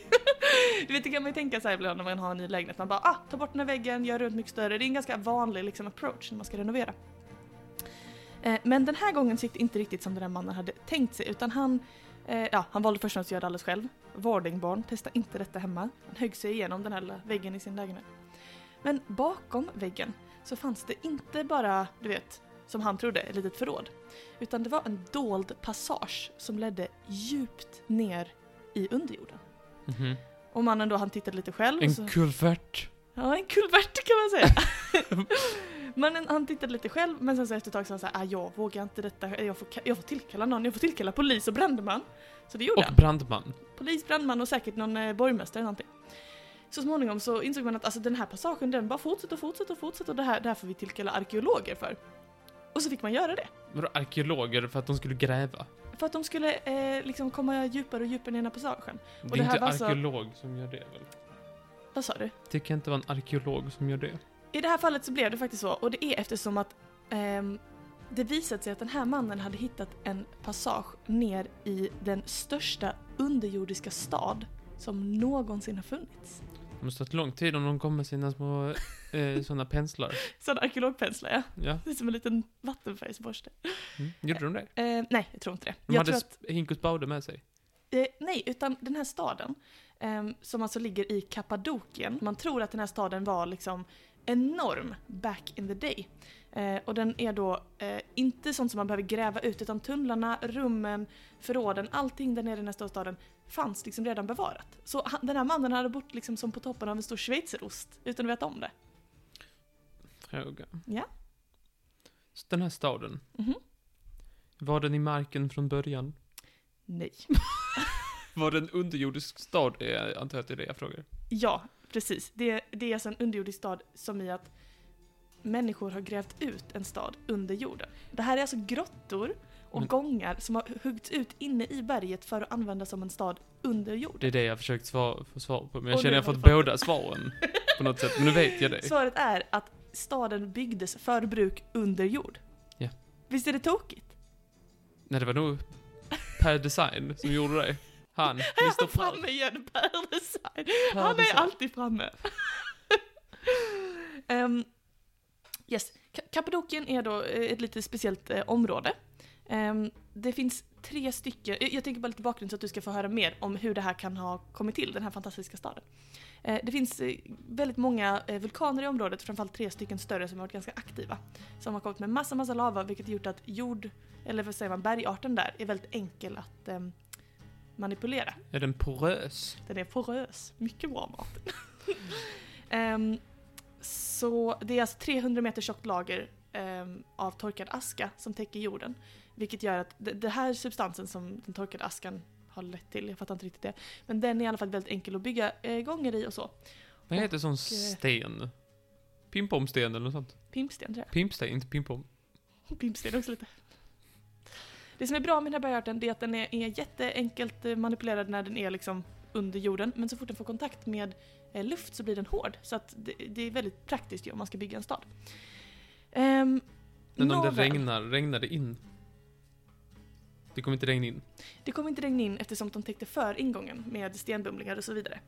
Du vet, det kan man ju tänka sig ibland när man har en ny lägenhet. Man bara, ah, ta bort den här väggen, gör runt mycket större. Det är en ganska vanlig liksom, approach när man ska renovera. Eh, Men den här gången gick det inte riktigt som den där mannen hade tänkt sig utan han, eh, ja, han valde först och främst att göra det alldeles själv. Vardingbarn, testa inte detta hemma. Han högg sig igenom den här lilla väggen i sin lägenhet. Men bakom väggen så fanns det inte bara, du vet, som han trodde, ett litet förråd. Utan det var en dold passage som ledde djupt ner i underjorden.
Mhm.
Och mannen då han tittade lite själv. och
En
så,
kulvert?
ja, en kulvert kan man säga. mannen han tittade lite själv men sen så efter ett tag så han så här, ah, jag vågar inte detta, jag får, jag får tillkalla någon, jag får tillkalla polis och brandman. Så det gjorde
Och
han.
brandman?
Polis, brandman och säkert någon eh, borgmästare eller någonting. Så småningom så insåg man att alltså, den här passagen den bara fortsätter och fortsätter och fortsätter och det här, det här får vi tillkalla arkeologer för. Och så fick man göra det.
Vadå arkeologer för att de skulle gräva?
För att de skulle eh, liksom komma djupare och djupare ner i den här passagen.
Det är
det här
inte
var så-
arkeolog som gör det väl?
Vad sa du?
Det kan inte vara en arkeolog som gör det.
I det här fallet så blev det faktiskt så och det är eftersom att ehm, det visat sig att den här mannen hade hittat en passage ner i den största underjordiska stad som någonsin har funnits.
Det måste ha tagit lång tid om de kom med sina små eh, sådana penslar.
Sån arkeologpenslar ja,
Ja,
det är som en liten vattenfärgsborste.
mm. gjorde de det?
Eh, nej, jag tror inte det.
De
jag
hade
tror
sp- Hinkus Baude med sig.
Eh, nej, utan den här staden ehm, som alltså ligger i Kappadokien. Man tror att den här staden var liksom enorm back in the day. Eh, och den är då eh, inte sånt som man behöver gräva ut utan tunnlarna, rummen, förråden, allting där nere i den här stora staden fanns liksom redan bevarat. Så han, den här mannen hade bott liksom som på toppen av en stor schweizerost utan att veta om det.
Fråga.
Ja.
Så den här staden,
Mhm.
var den i marken från början?
Nej.
Var det en underjordisk stad? Eh, Jag antar att det är det jag frågar.
Ja, precis. Det, det är alltså en underjordisk stad som i att människor har grävt ut en stad under jorden. Det här är alltså grottor och
Men-
gångar som har huggts ut inne i berget för att användas som en stad under jord.
Det är det jag har försökt svara, få svar på, men
Och
jag
nu
känner jag
har
har
du
fått
fått
båda svaren på något sätt. Men nu vet jag det.
Svaret är att staden byggdes för bruk under jord.
Ja.
Visst är det tokigt?
Nej, det var nog Per Design som gjorde det. Han, Mr.
Han
Per.
framme igen, Per Design.
Per
Han är
Design.
alltid framme. Ehm, yes. Ka- Kappadokien är då eh, ett lite speciellt eh, område. Ehm, det finns tre stycken, jag jag tänker bara lite bakgrund så att du ska få höra mer om hur det här kan ha kommit till, den här fantastiska staden. Eh, det finns eh, väldigt många eh, vulkaner i området, framförallt tre stycken större som har varit ganska aktiva. Som har kommit med massa, massa lava vilket har gjort att jord, eller vad säger man, bergarten där är väldigt enkel att ehm, manipulera.
Är den porös?
Den är porös. Mycket bra Martin. Ehm, så det är alltså 300 meter tjockt lager ehm, av torkad aska som täcker jorden. Vilket gör att d- den här substansen som den torkade askan har lett till, jag fattar inte riktigt det. Men den är i alla fall väldigt enkel att bygga eh, gånger i och så.
Vad heter sån
eh,
sten? Pimpomsten eller något sånt?
Pimpsten tror
Pimpsten, inte pimpom.
jag. Pimpsten också lite. Det som är bra med den här bergarten det är att den är, är jätteenkelt eh, manipulerad när den är liksom under jorden. Men så fort den får kontakt med eh, luft så blir den hård. Så att det, det är väldigt praktiskt ju om man ska bygga en stad. Ehm,
Men om det
nåväl.
regnar, regnar det in? Det kommer inte regna in.
Det kom inte regn in eftersom de täckte för ingången med stenbumlingar och så vidare.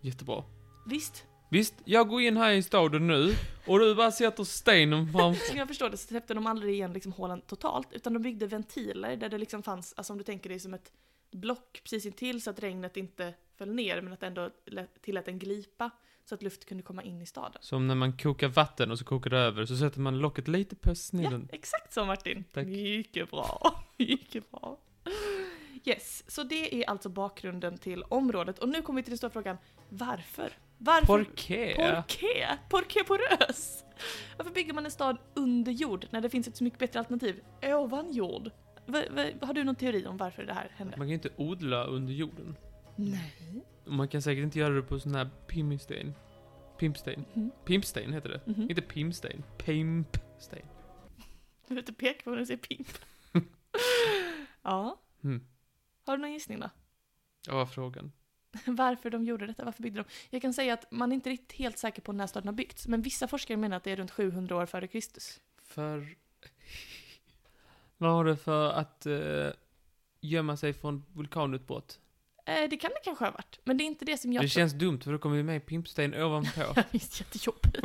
Jättebra.
Visst,
Visst, jag går in här i staden nu och du bara sätter stenen framför...
Som jag förstår det så täppte de aldrig igen liksom hålen totalt, utan de byggde ventiler där det liksom fanns, alltså om du tänker dig som ett block precis intill så att regnet inte föll ner, men att det ändå lät- tillät en glipa så att luft kunde komma in i staden.
Som när man kokar vatten och så kokar det över, så sätter man locket lite på
Ja,
snillen.
exakt så Martin.
Tack.
Mycket bra. Mycket bra. Yes, så det är alltså bakgrunden till området. Och nu kommer vi till den stora frågan, varför? Varför?
Porqué?
Porqué? Porqué porös? Varför bygger man en stad under jord när det finns ett så mycket bättre alternativ ovan jord? V- v- har du någon teori om varför det här hände?
Man kan ju inte odla under jorden.
Nej.
Och Man kan säkert inte göra det på sån här pimmisten. Pimpsten.
Mhm.
Pimpsten heter det.
Mhm.
Inte pimsten. Pimpsten.
Du behöver inte peka på när du säger pimp. ja.
Mm.
Har du någon gissning då?
Ja, vad var frågan?
varför de gjorde detta, varför byggde de? Jag kan säga att man är inte riktigt helt säker på när staden har byggts, men vissa forskare menar att det är runt 700 år före Kristus.
För... Vad har det för att eh, gömma sig från vulkanutbrott?
Eh, det kan det kanske ha varit, men det är inte det som jag
det känns dumt för då kommer vi med pimpsten ovanpå.
tror. Visst, jättejobbigt.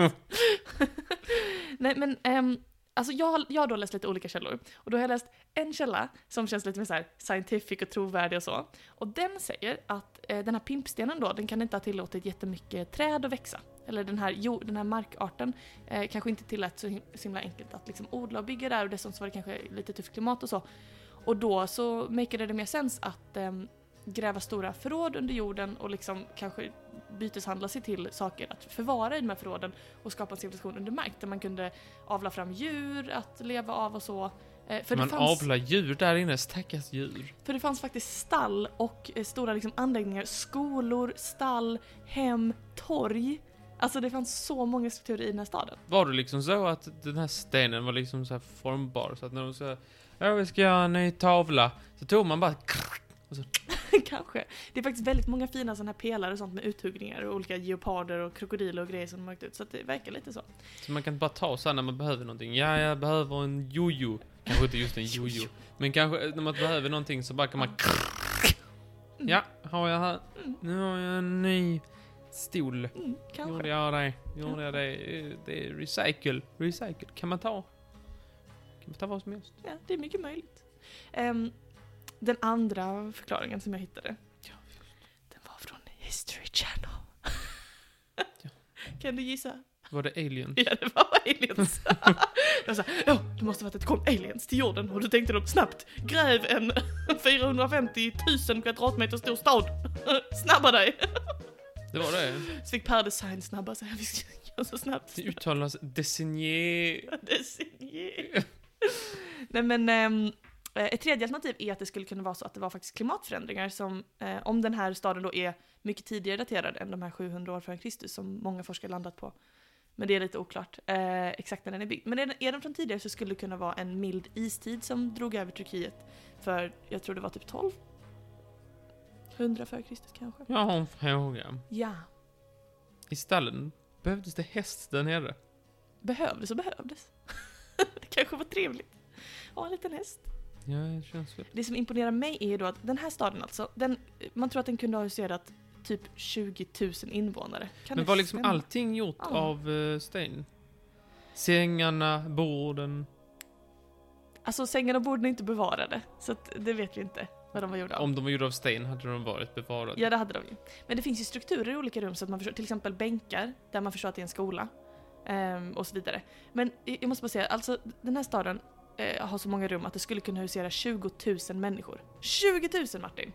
Nej, men ehm, alltså jag, har- jag har då läst lite olika källor, och då har jag läst en källa som känns lite mer så här scientific och trovärdig och så. Och den säger att eh, den här pimpstenen då, den kan inte ha tillåtit jättemycket träd att växa. Eller den här, jo, den här markarten eh, kanske inte tillät så him- så himla enkelt att liksom odla och bygga där och dessutom så var det kanske lite tufft klimat och så. Och då så makade det mer sens att ehm, gräva stora förråd under jorden och liksom kanske byteshandla sig till saker att förvara i de här förråden och skapa en civilisation under mark där man kunde avla fram djur att leva av och så. Eh, för det
man
fanns-
avlar djur där inne, stackars djur.
för det fanns faktiskt stall och eh, stora liksom, anläggningar, skolor, stall, hem, torg. Alltså det fanns så många strukturer i den här staden.
Var det liksom så att den här stenen var liksom så här formbar så att när de sa ja vi ska göra en ny tavla så tog man bara
Kanske. Det är faktiskt väldigt många fina sådana här pelare och sånt med uthuggningar och olika geoparder och krokodiler och grejer som de har lagt ut. Så att det verkar lite så.
så man kan bara ta så här när man behöver någonting. Ja, jag behöver en jojo. Kanske inte just en jojo. Men kanske eh, när man behöver någonting så bara kan man Ja, har jag här. Nu har jag en ny stol.
Mm,
Gjorde
kanske.
jag det? Gjorde jag det? Eh, Det är recycle. Recycle. Kan man ta? Kan man ta vad som helst?
Ja, det är mycket möjligt. Ehm, den andra förklaringen som jag hittade. Den var från History Channel. Kan du gissa?
Var det aliens?
Ja, det var aliens. jag sa, ja, det måste varit att det kom aliens till jorden och då tänkte de snabbt, gräv en 450 000 kvadratmeter stor stad. Snabba dig!
Det var det.
Så fick Per Design snabba sig, vi ska göra så snabbt.
Det uttalas designé...
Design. Nej men, ehm, ett tredje alternativ är att det skulle kunna vara så att det var faktiskt klimatförändringar som, eh, om den här staden då är mycket tidigare daterad än de här 700 år före Kristus som många forskare landat på. Men det är lite oklart eh, exakt när den är byggd. Men är den, är den från tidigare så skulle det kunna vara en mild istid som drog över Turkiet för, jag tror det var typ 12? 100 före Kristus kanske?
Jag har en fråga.
Ja.
I stallen behövdes det häst där nere.
Behövdes och behövdes. det kanske var trevligt. Ja, en liten häst.
Ja, det känns väl.
Det som imponerar mig är ju då att den här staden alltså, den, man tror att den kunde ha huserat typ 20 000 invånare. Kan
Men
det
var liksom
stämma?
allting gjort
Ja.
av eh, sten? Sängarna, borden.
Alltså sängarna och borden är inte bevarade, så att, det vet vi inte vad de var gjorda av.
Om de var gjorda av sten hade de varit bevarade.
Ja, det hade de ju. Men det finns ju strukturer i olika rum, så att man förstår, till exempel bänkar, där man förstår att det är en skola. ehm, och så vidare. Men eh, jag måste bara säga, alltså den här staden eh, har så många rum att det skulle kunna husera 20 000 människor. 20 000 Martin!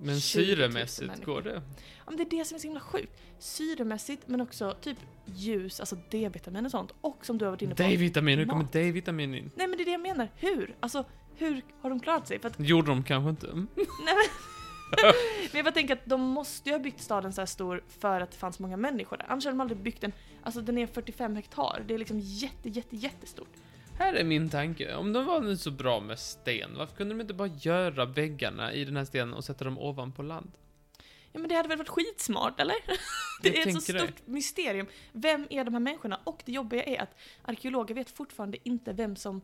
Men
20 000
syremässigt
människor.
går det.
Ja, men det är det som är så himla sjukt. Syremässigt, men också typ ljus, alltså D-vitamin och sånt. Och som du har varit inne på.
D-vitamin, nu kommer
Mat.
D-vitamin in.
Nej men det är det jag menar. Hur? Alltså, hur har de klarat sig? För att,
Det gjorde de kanske inte. Mm.
nej men... men jag bara tänker att de måste ju ha byggt staden så här stor för att det fanns många människor där. Annars hade de aldrig byggt den. Alltså den är 45 hektar. Det är liksom jätte, jätte, jättestort.
Här är min tanke. Om de var nu så bra med sten, varför kunde de inte bara göra väggarna i den här stenen och sätta dem ovanpå land?
Ja men det hade väl varit skitsmart eller? Det
Jag
är ett så
tänker det.
stort mysterium. Vem är de här människorna? Och det jobbiga är att arkeologer vet fortfarande inte vem som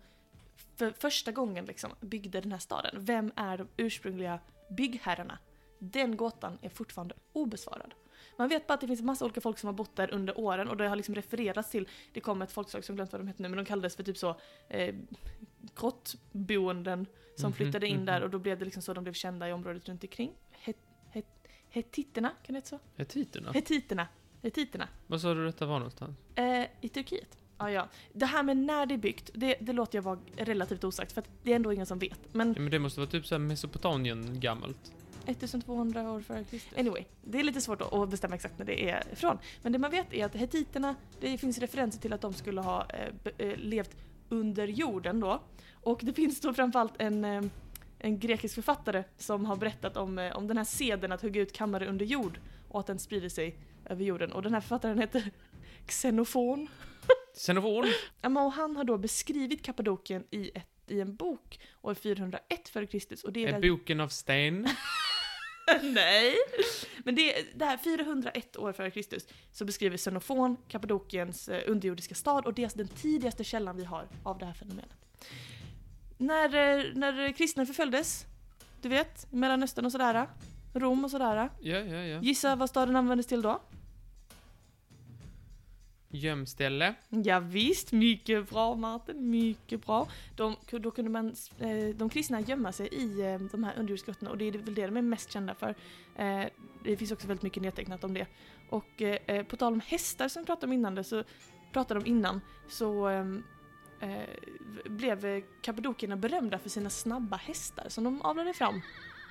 för första gången liksom byggde den här staden. Vem är de ursprungliga byggherrarna? Den gåtan är fortfarande obesvarad. Man vet bara att det finns massa olika folk som har bott där under åren och det har liksom refererats till, det kom ett folkslag som jag glömt vad de hette nu, men de kallades för typ så eh, grottboenden som
Mhm,
flyttade in
mhm.
där och då blev det liksom så de blev kända i området runt omkring. Het, het, hetiterna, kan det heta så?
Hetiterna?
Hetiterna. Hetiterna.
Vad sa du detta var någonstans?
Eh, I Turkiet. Ja, ja. Det här med när det är byggt, det, det låter jag vara relativt osagt för att det är ändå ingen som vet. Men
Ja, men det måste vara typ såhär Mesopotamien gammalt.
1200 år före Kristus. Typ. Anyway, det är lite svårt då att bestämma exakt när det är ifrån. Men det man vet är att hetiterna, det finns referenser till att de skulle ha eh, be, eh, levt under jorden då. Och det finns då framförallt en, eh, en grekisk författare som har berättat om, eh, om den här seden att hugga ut kammare under jord och att den sprider sig över jorden. Och den här författaren heter Xenofon.
Xenofon!
Ja, men Och han har då beskrivit Kappadokien i, ett, i en bok år 401 före Kristus. Och det är
Är
där-
boken av sten?
Nej! Men det, det här 401 år före Kristus så beskriver Xenofon Kappadokiens eh, underjordiska stad och det är alltså den tidigaste källan vi har av det här fenomenet. När, eh, när kristna förföljdes, du vet, i Mellanöstern och sådär, Rom och sådär.
Ja, ja, ja.
Gissa vad staden användes till då?
Gömställe.
Ja, visst, mycket bra Martin, mycket bra. De, då kunde man, eh, de kristna gömma sig i eh, de här underjordsgrottorna och det är väl det de är mest kända för. Eh, Det finns också väldigt mycket nedtecknat om det. Och eh, eh, på tal om hästar som vi pratade om innan, det, så pratade om innan, så ehm, eh, blev eh, kappadokierna berömda för sina snabba hästar som de avlade fram.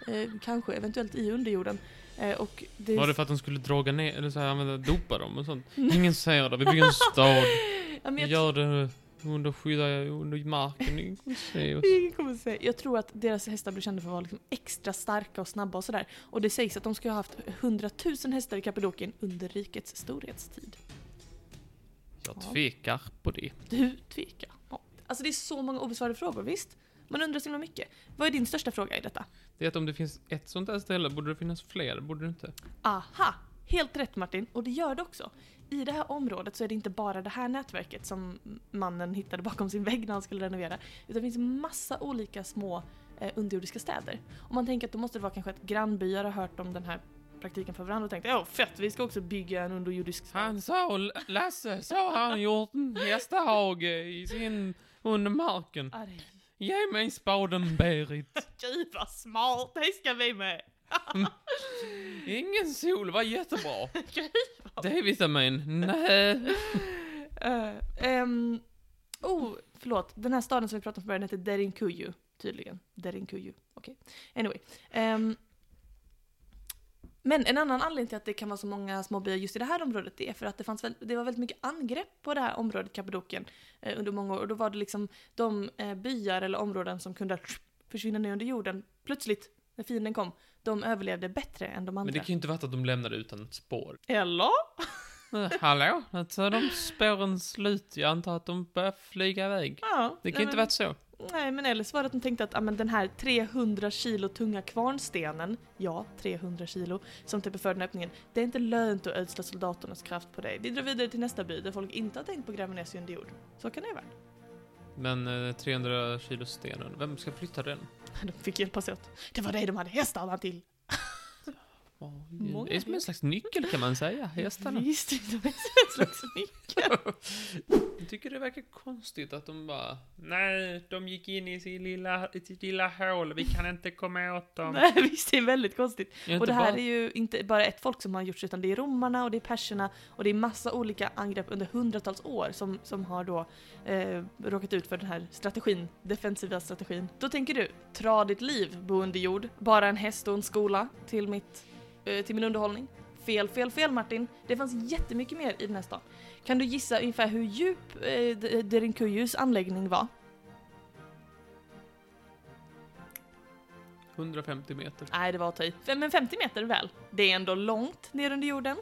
Eh, kanske, eventuellt i underjorden. Eh, och det,
Var det för att de skulle draga ner, eller såhär använda, dopa dem och sånt? Ingen säger det, vi bygger en stad.
Ja, men
Vi
jag
gör det under skydda, under marken. Ingen kommer se oss.
Ingen kommer säga. Jag tror att deras hästar blev kända för att vara liksom extra starka och snabba och sådär. Och det sägs att de ska ha haft 100 000 hästar i Kappadokien under rikets storhetstid.
Jag
Ja.
tvekar på det.
Du tvekar. Ja. Alltså det är så många obesvarade frågor, visst? Man undrar så himla mycket. Vad är din största fråga i detta?
Det är att om det finns ett sånt här ställe borde det finnas fler, borde det inte?
Aha! Helt rätt Martin, och det gör det också. I det här området så är det inte bara det här nätverket som mannen hittade bakom sin vägg när han skulle renovera, utan det finns massa olika små eh, underjordiska städer. Och man tänker att då måste det vara kanske att grannbyar har hört om den här praktiken för varandra och tänkt ja fett, vi ska också bygga en underjordisk stad.
Han sa, Lasse, så har han gjort en hästhage i sin, under marken.
Arg.
Ge mig spaden, Berit.
Gud vad smart, det ska vi med!
Ingen sol, var jättebra. D-vitamin, nej.
Eh, ehm, oh, förlåt. Den här staden som vi pratade om från början heter Derinkuyu, tydligen. Derinkuyu, okej. Anyway. ehm, men en annan anledning till att det kan vara så många små byar just i det här området det är för att det, fanns väl, det var väldigt mycket angrepp på det här området, Kappadokien, eh, under många år. Och då var det liksom de eh, byar eller områden som kunde försvinna ner under jorden plötsligt, när fienden kom, de överlevde bättre än de andra.
Men det kan ju inte vara att de lämnade utan ett spår.
Eller?
Hallå? Alltså är de spåren slut? Jag antar att de börjar flyga iväg.
Ja.
Det kan
nej,
ju inte
men-
varit så.
Nej, men eller så var det att de tänkte att ah, men den här 300 kilo tunga kvarnstenen, ja 300 kilo, som täpper för den här öppningen, det är inte lönt att ödsla soldaternas kraft på dig. Vi drar vidare till nästa by där folk inte har tänkt på gräva ner sig under jord. Så kan det ju vara.
Men eh, 300 kilo stenen, vem ska flytta den?
De fick hjälpas åt. Det var dig de hade hästarna till!
Ja,
Många
Det är som en slags nyckel kan man säga, hästarna.
Visst, de är en slags nyckel.
Jag tycker det verkar konstigt att de bara, nej, de gick in i sitt lilla, i sitt lilla hål, vi kan inte komma åt dem.
Nej, visst, det är väldigt konstigt.
Är inte
Och det här
bara-
är ju inte bara ett folk som har gjort det, utan det är romarna och det är perserna och det är massa olika angrepp under hundratals år som, som har då eh, råkat ut för den här strategin, defensiva strategin. Då tänker du, tra ditt liv, bo under jord, bara en häst och en skola till, mitt, eh, till min underhållning. Fel, fel, fel Martin. Det fanns jättemycket mer i den här stan. Kan du gissa ungefär hur djup eh, D- Derinkuyus anläggning var?
150 meter.
Nej, det var att ta i. Fem- Men 50 meter väl? Det är ändå långt ner under jorden.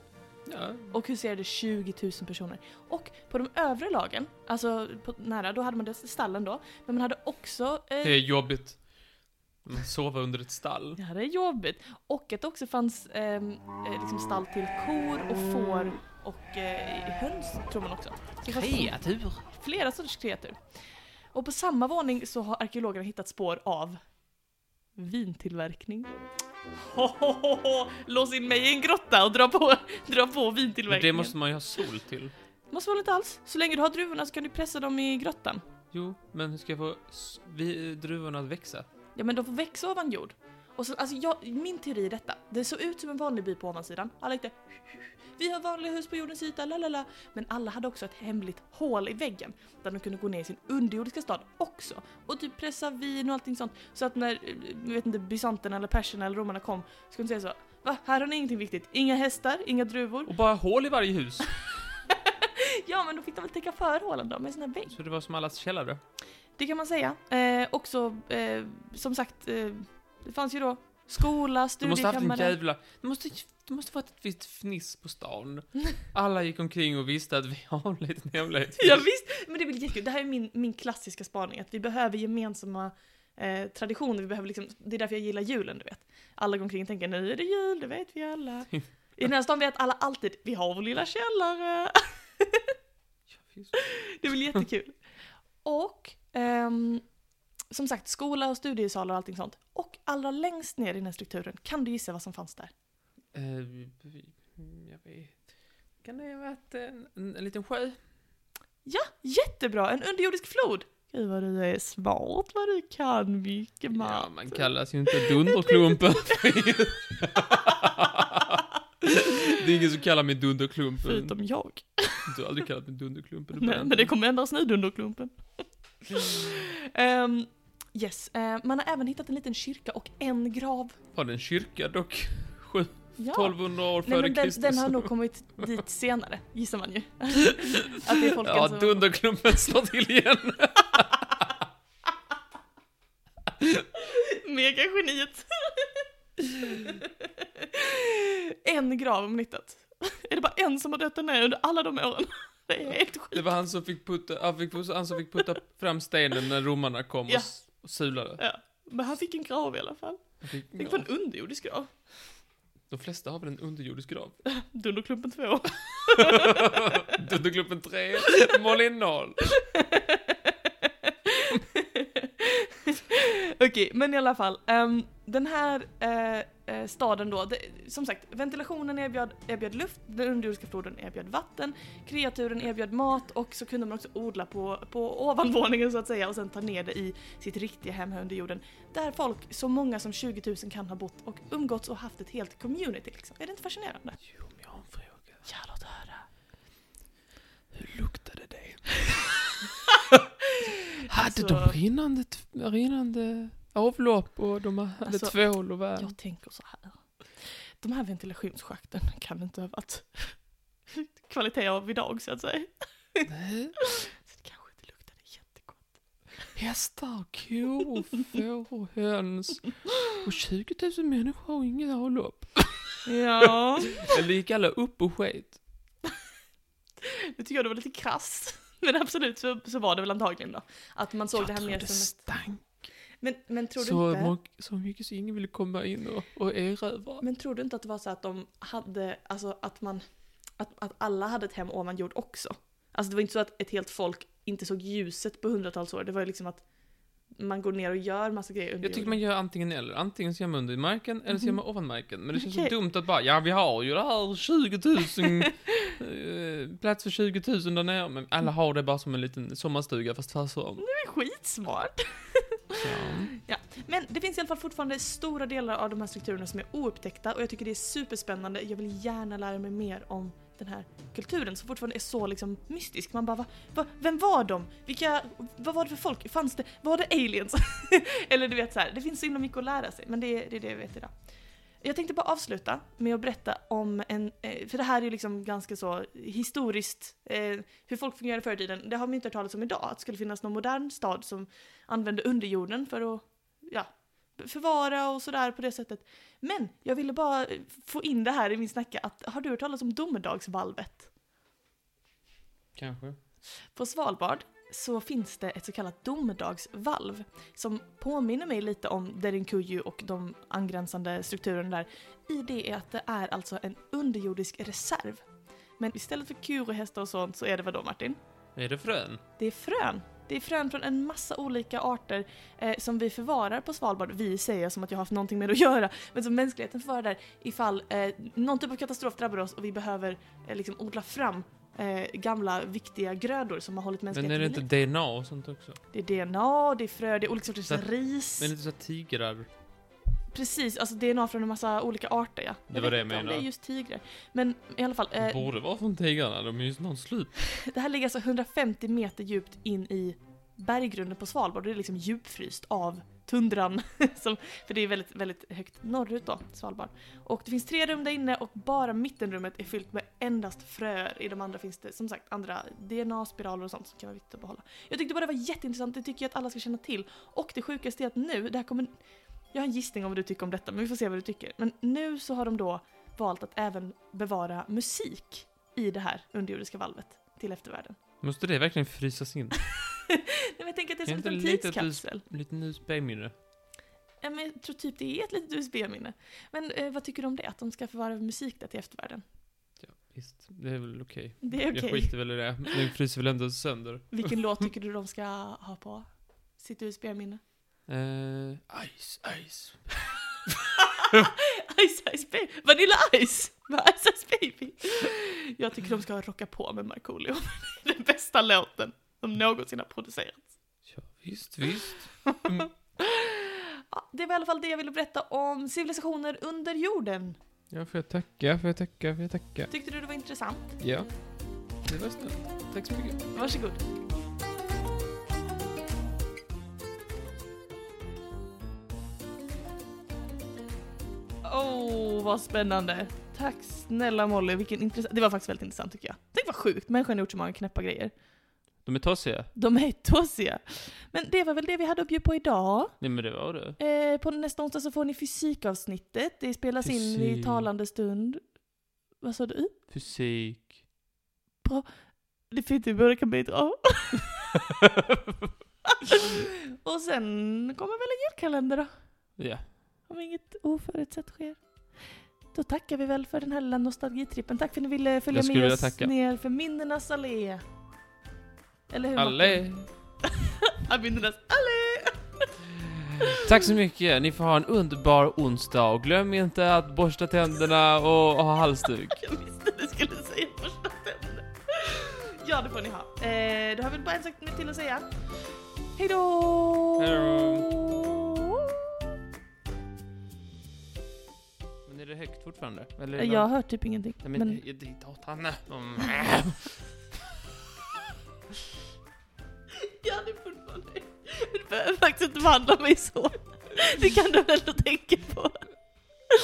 Ja,
och huserade 20 000 personer. Och på de övre lagen, alltså på, nära, då hade man dels stallen då, men man hade också...
det
Eh,
är jobbigt. Man sover under ett stall.
det här är jobbigt. Och att det också fanns ehm, eh, liksom stall till kor och får och eh, höns, tror man också. Så det fanns
Kreatur.
flera sorters kreatur. Och på samma våning så har arkeologerna hittat spår av vintillverkning. Hohohoho! Lås in mig i en grotta och dra på, dra på
Men
vintillverkningen.
det måste man ju ha sol till.
Måste man inte alls? Så länge du har druvorna så kan du pressa dem i grottan.
Jo, men hur ska jag få s- vi, druvorna att växa?
Ja, men de får växa ovan jord. Och så, alltså jag, min teori är detta. Det såg ut som en vanlig by på ovansidan. Alla gick där. Vi har vanliga hus på jordens yta, lalala. Men alla hade också ett hemligt hål i väggen. Där de kunde gå ner i sin underjordiska stad också. Och typ pressa vin och allting sånt. Så att när, eh, vet inte, bysanterna eller perserna eller romarna kom. Så kunde de säga så. Va? Här har ni ingenting viktigt. Inga hästar, inga druvor.
Och bara hål i varje hus!
Ja, men då fick de väl täcka för hålen då med sina vägg.
Så det var som allas källare.
Det kan man säga. Eh, också, eh, som sagt, eh, det fanns ju då skola,
Du måste ha haft en
studiekammare.
jävla... Det måste, det måste varit ett visst fniss på stan. Alla gick omkring och visste att vi har en liten hemlighet.
Ja, visst, men det är väl jättekul. Det här är min, min klassiska spaning, att vi behöver gemensamma eh, traditioner. Vi behöver liksom, det är därför jag gillar julen, du vet. Alla går omkring och tänker nu är det jul, det vet vi alla. I den här stan vet alla alltid, vi har vår lilla källare.
visst.
det är väl jättekul. Och ehm, som sagt, skola och studiesalar och allting sånt. Och allra längst ner i den här strukturen, kan du gissa vad som fanns där?
Eh, vi- jag vet. Kan det ha varit en, en, en liten sjö?
Jättebra, en underjordisk flod! Gud vad du är smart, vad du kan mycket Mats.
Ja, man kallas ju inte Dunderklumpen. det är ingen som kallar mig Dunderklumpen.
Förutom jag.
Du har aldrig kallat mig Dunderklumpen. du
Nej,
bara-
men det kommer ändras nu, Dunderklumpen. Ehm, yes, eh, man har även hittat en liten kyrka och en grav.
Var det en kyrka dock?
Ja.
1200 år
Nej,
före
men den,
Kristus.
den har nog kommit dit senare, gissar man ju. Att det är alltså- folken
Ja,
som...
Dunderklumpen slår till igen.
Megageniet. en grav om nyttat. Är det bara en som har dött den här under alla de åren? Det är helt sjukt.
Det var han som fick putta, han, fick, han som fick putta fram stenen när romarna kom och,
Ja.
s- och sulade.
Ja. Men han fick en grav i alla fall.
Han Fick,
Fick
ja,
en underjordisk grav.
de flesta har väl en underjordisk grav?
Dunderklumpen 2.
Dunderklumpen 3, Malin 0.
Okej, men i alla fall. ehm, den här eh, eh, staden då, det, som sagt, ventilationen erbjöd, erbjöd luft, den underjordiska floden erbjöd vatten, kreaturen erbjöd mat och så kunde man också odla på, på ovanvåningen så att säga och sen ta ner det i sitt riktiga hem här under jorden. Där folk, så många som 20 000 kan ha bott och umgåtts och haft ett helt community liksom. Är det inte fascinerande?
Jo, men jag har en fråga.
Ja, låt höra.
Hur luktade det?
Alltså-
Hade de rinnande, t- rinnande avlopp och de hade
Alltså,
tvål och vad?
Jag tänker så här. De här ventilationsschakten kan inte ha varit kvalitet av idag så att säga.
Nej.
Så det kanske inte luktade jättegott.
Hästar, kor, får, höns och 20 000 människor och inget avlopp.
Ja.
Eller gick alla upp och sket?
Det tycker jag det var lite krass. Men absolut så, så var det väl antagligen då. Att man såg
jag
det här
tror
mer
det
som ett...
stank
Men, men tror du
så,
inte...
många, så mycket så ingen ville komma in och, och erövra.
Men tror du inte att det var så att de hade, alltså att man, att, att alla hade ett hem ovan jord också? Alltså det var inte så att ett helt folk inte såg ljuset på hundratals år, det var ju liksom att man går ner och gör massa grejer under
Jag tycker
jorden.
man gör antingen eller. Antingen så gör man under marken eller så gör man ovan marken. Men det känns
Mhm. Okej.
så dumt att bara, ja vi har ju det här 20 000, eh, plats för 20 000 där nere. Men alla har det bara som en liten sommarstuga fast tvärsom.
Det är skitsmart!
Så,
Men det finns i alla fall fortfarande stora delar av de här strukturerna som är oupptäckta och jag tycker det är superspännande. Jag vill gärna lära mig mer om den här kulturen som fortfarande är så liksom mystisk. Man bara va, va, vem var de? Vilka, vad var det för folk? Fanns det, var det aliens? Eller du vet så här, det finns så himla mycket att lära sig men det är det, är det jag vet idag. Jag tänkte bara avsluta med att berätta om en, eh, för det här är ju liksom ganska så historiskt, eh, hur folk fungerade förr i tiden. Det har man ju inte hört talas om idag, att det skulle finnas någon modern stad som använde underjorden för att ja, förvara och sådär på det sättet. Men jag ville bara eh, få in det här i min snacka att har du hört talas om domedagsvalvet?
kanske.
På Svalbard så finns det ett så kallat domedagsvalv som påminner mig lite om Derinkuju och de angränsande strukturerna där. I det är att det är alltså en underjordisk reserv. Men istället för kur och hästar och sånt så är det vad då Martin?
Är det frön?
Det är frön. Det är frön från en massa olika arter eh, som vi förvarar på Svalbard. Vi säger jag som att jag har haft någonting med det att göra, men som mänskligheten förvarar där ifall eh, någon typ av katastrof drabbar oss och vi behöver eh, liksom odla fram eh, gamla viktiga grödor som har hållit
Men är
mänskligheten
det
vid liv.
inte DNA och sånt också?
Det är DNA, det är frö, det är olika sorters
Men-
ris.
Men inte så här tigrar?
Precis, alltså DNA från en massa olika arter ja.
Det
vet
var det jag
inte om
menade.
Det är just tigrar. Men i alla fall,
Det
eh,
borde vara från tigrarna, de är ju någon slup.
det här ligger alltså 150 meter djupt in i berggrunden på Svalbard. Det är liksom djupfryst av tundran. Som, för det är väldigt, väldigt högt norrut då, Svalbard. Och det finns tre rum där inne och bara mittenrummet är fyllt med endast fröer. I de andra finns det som sagt andra DNA-spiraler och sånt som kan vara viktigt att behålla. Jag tyckte bara det var jätteintressant, det tycker jag att alla ska känna till. Och det sjukaste är att nu, det här kommer... Jag har en gissning om vad du tycker om detta, men vi får se vad du tycker. Men nu så har de då valt att även bevara musik i det här underjordiska valvet till eftervärlden.
Måste det verkligen frysas in?
Nej, men jag tänker att det är
Är
som
inte
en
det
liten
lite att du-
tidskapsel.
Lite USB-minne.
Ja, men jag tror typ det är ett litet USB-minne. Men eh, vad tycker du om det? Att de ska förvara musik där till eftervärlden?
Ja, visst. Det är väl okej.
Det är okej.
Jag skiter väl i det. Men Den fryser väl ändå sönder.
Vilken låt tycker du de ska ha på sitt USB-minne?
Eh, ice, ice.
Ice Ice Baby! Vanilla Ice! Med Ice Ice Baby! Jag tycker de ska ha Rocka på med Markoolio. Den bästa låten som någonsin har producerats.
Ja, visst, visst.
Ja, det var i alla fall det jag ville berätta om civilisationer under jorden.
Ja, får jag tacka, får jag tacka, får jag tacka.
Tyckte du det var intressant?
Ja. Det var snällt. Tack så mycket.
Varsågod. Åh, oh, vad spännande. Tack snälla Molly, vilken intressant... Det var faktiskt väldigt intressant tycker jag. Tänk vad sjukt, människan har gjort så många knäppa grejer.
De är tossiga.
De är tåsiga. Men det var väl det vi hade att bjuda på idag.
Nej men det var det.
Eh, på nästa onsdag så får ni fysikavsnittet. Det spelas in i
Fysik.
talande stund. Vad sa du?
Fysik.
Det finns inte båda kan bidra. Och sen kommer väl en julkalender då?
Ja.
Om inget oförutsett sker. Då tackar vi väl för den här lilla nostalgitrippen. Tack för att ni ville följa
Jag skulle
med
vilja
oss
tacka.
ner för minnenas allé. Eller hur?
Allé.
Martin? Ja, minnenas allé!
Tack så mycket. Ni får ha en underbar onsdag och glöm inte att borsta tänderna och ha halsduk.
Jag visste du skulle säga första tänden. Ja, det får ni ha. Eh, då har vi bara en sak till att säga. Hej då!
Hej Men är det högt fortfarande? Eller är det-
Jag hör typ ingenting.
Nej, men,
men...
men... det är datan. Mm.
Ja, det är fortfarande Du behöver faktiskt inte behandla mig så. Det kan du väl ändå tänka på.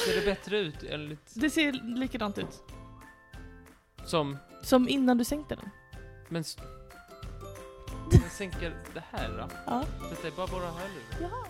Ser det bättre ut enligt...
Det ser likadant ut.
Som...
Som innan du sänkte den.
Men... s- Men sänker det här då?
Ja.
Detta är bara våra hörlurar.
Jaha.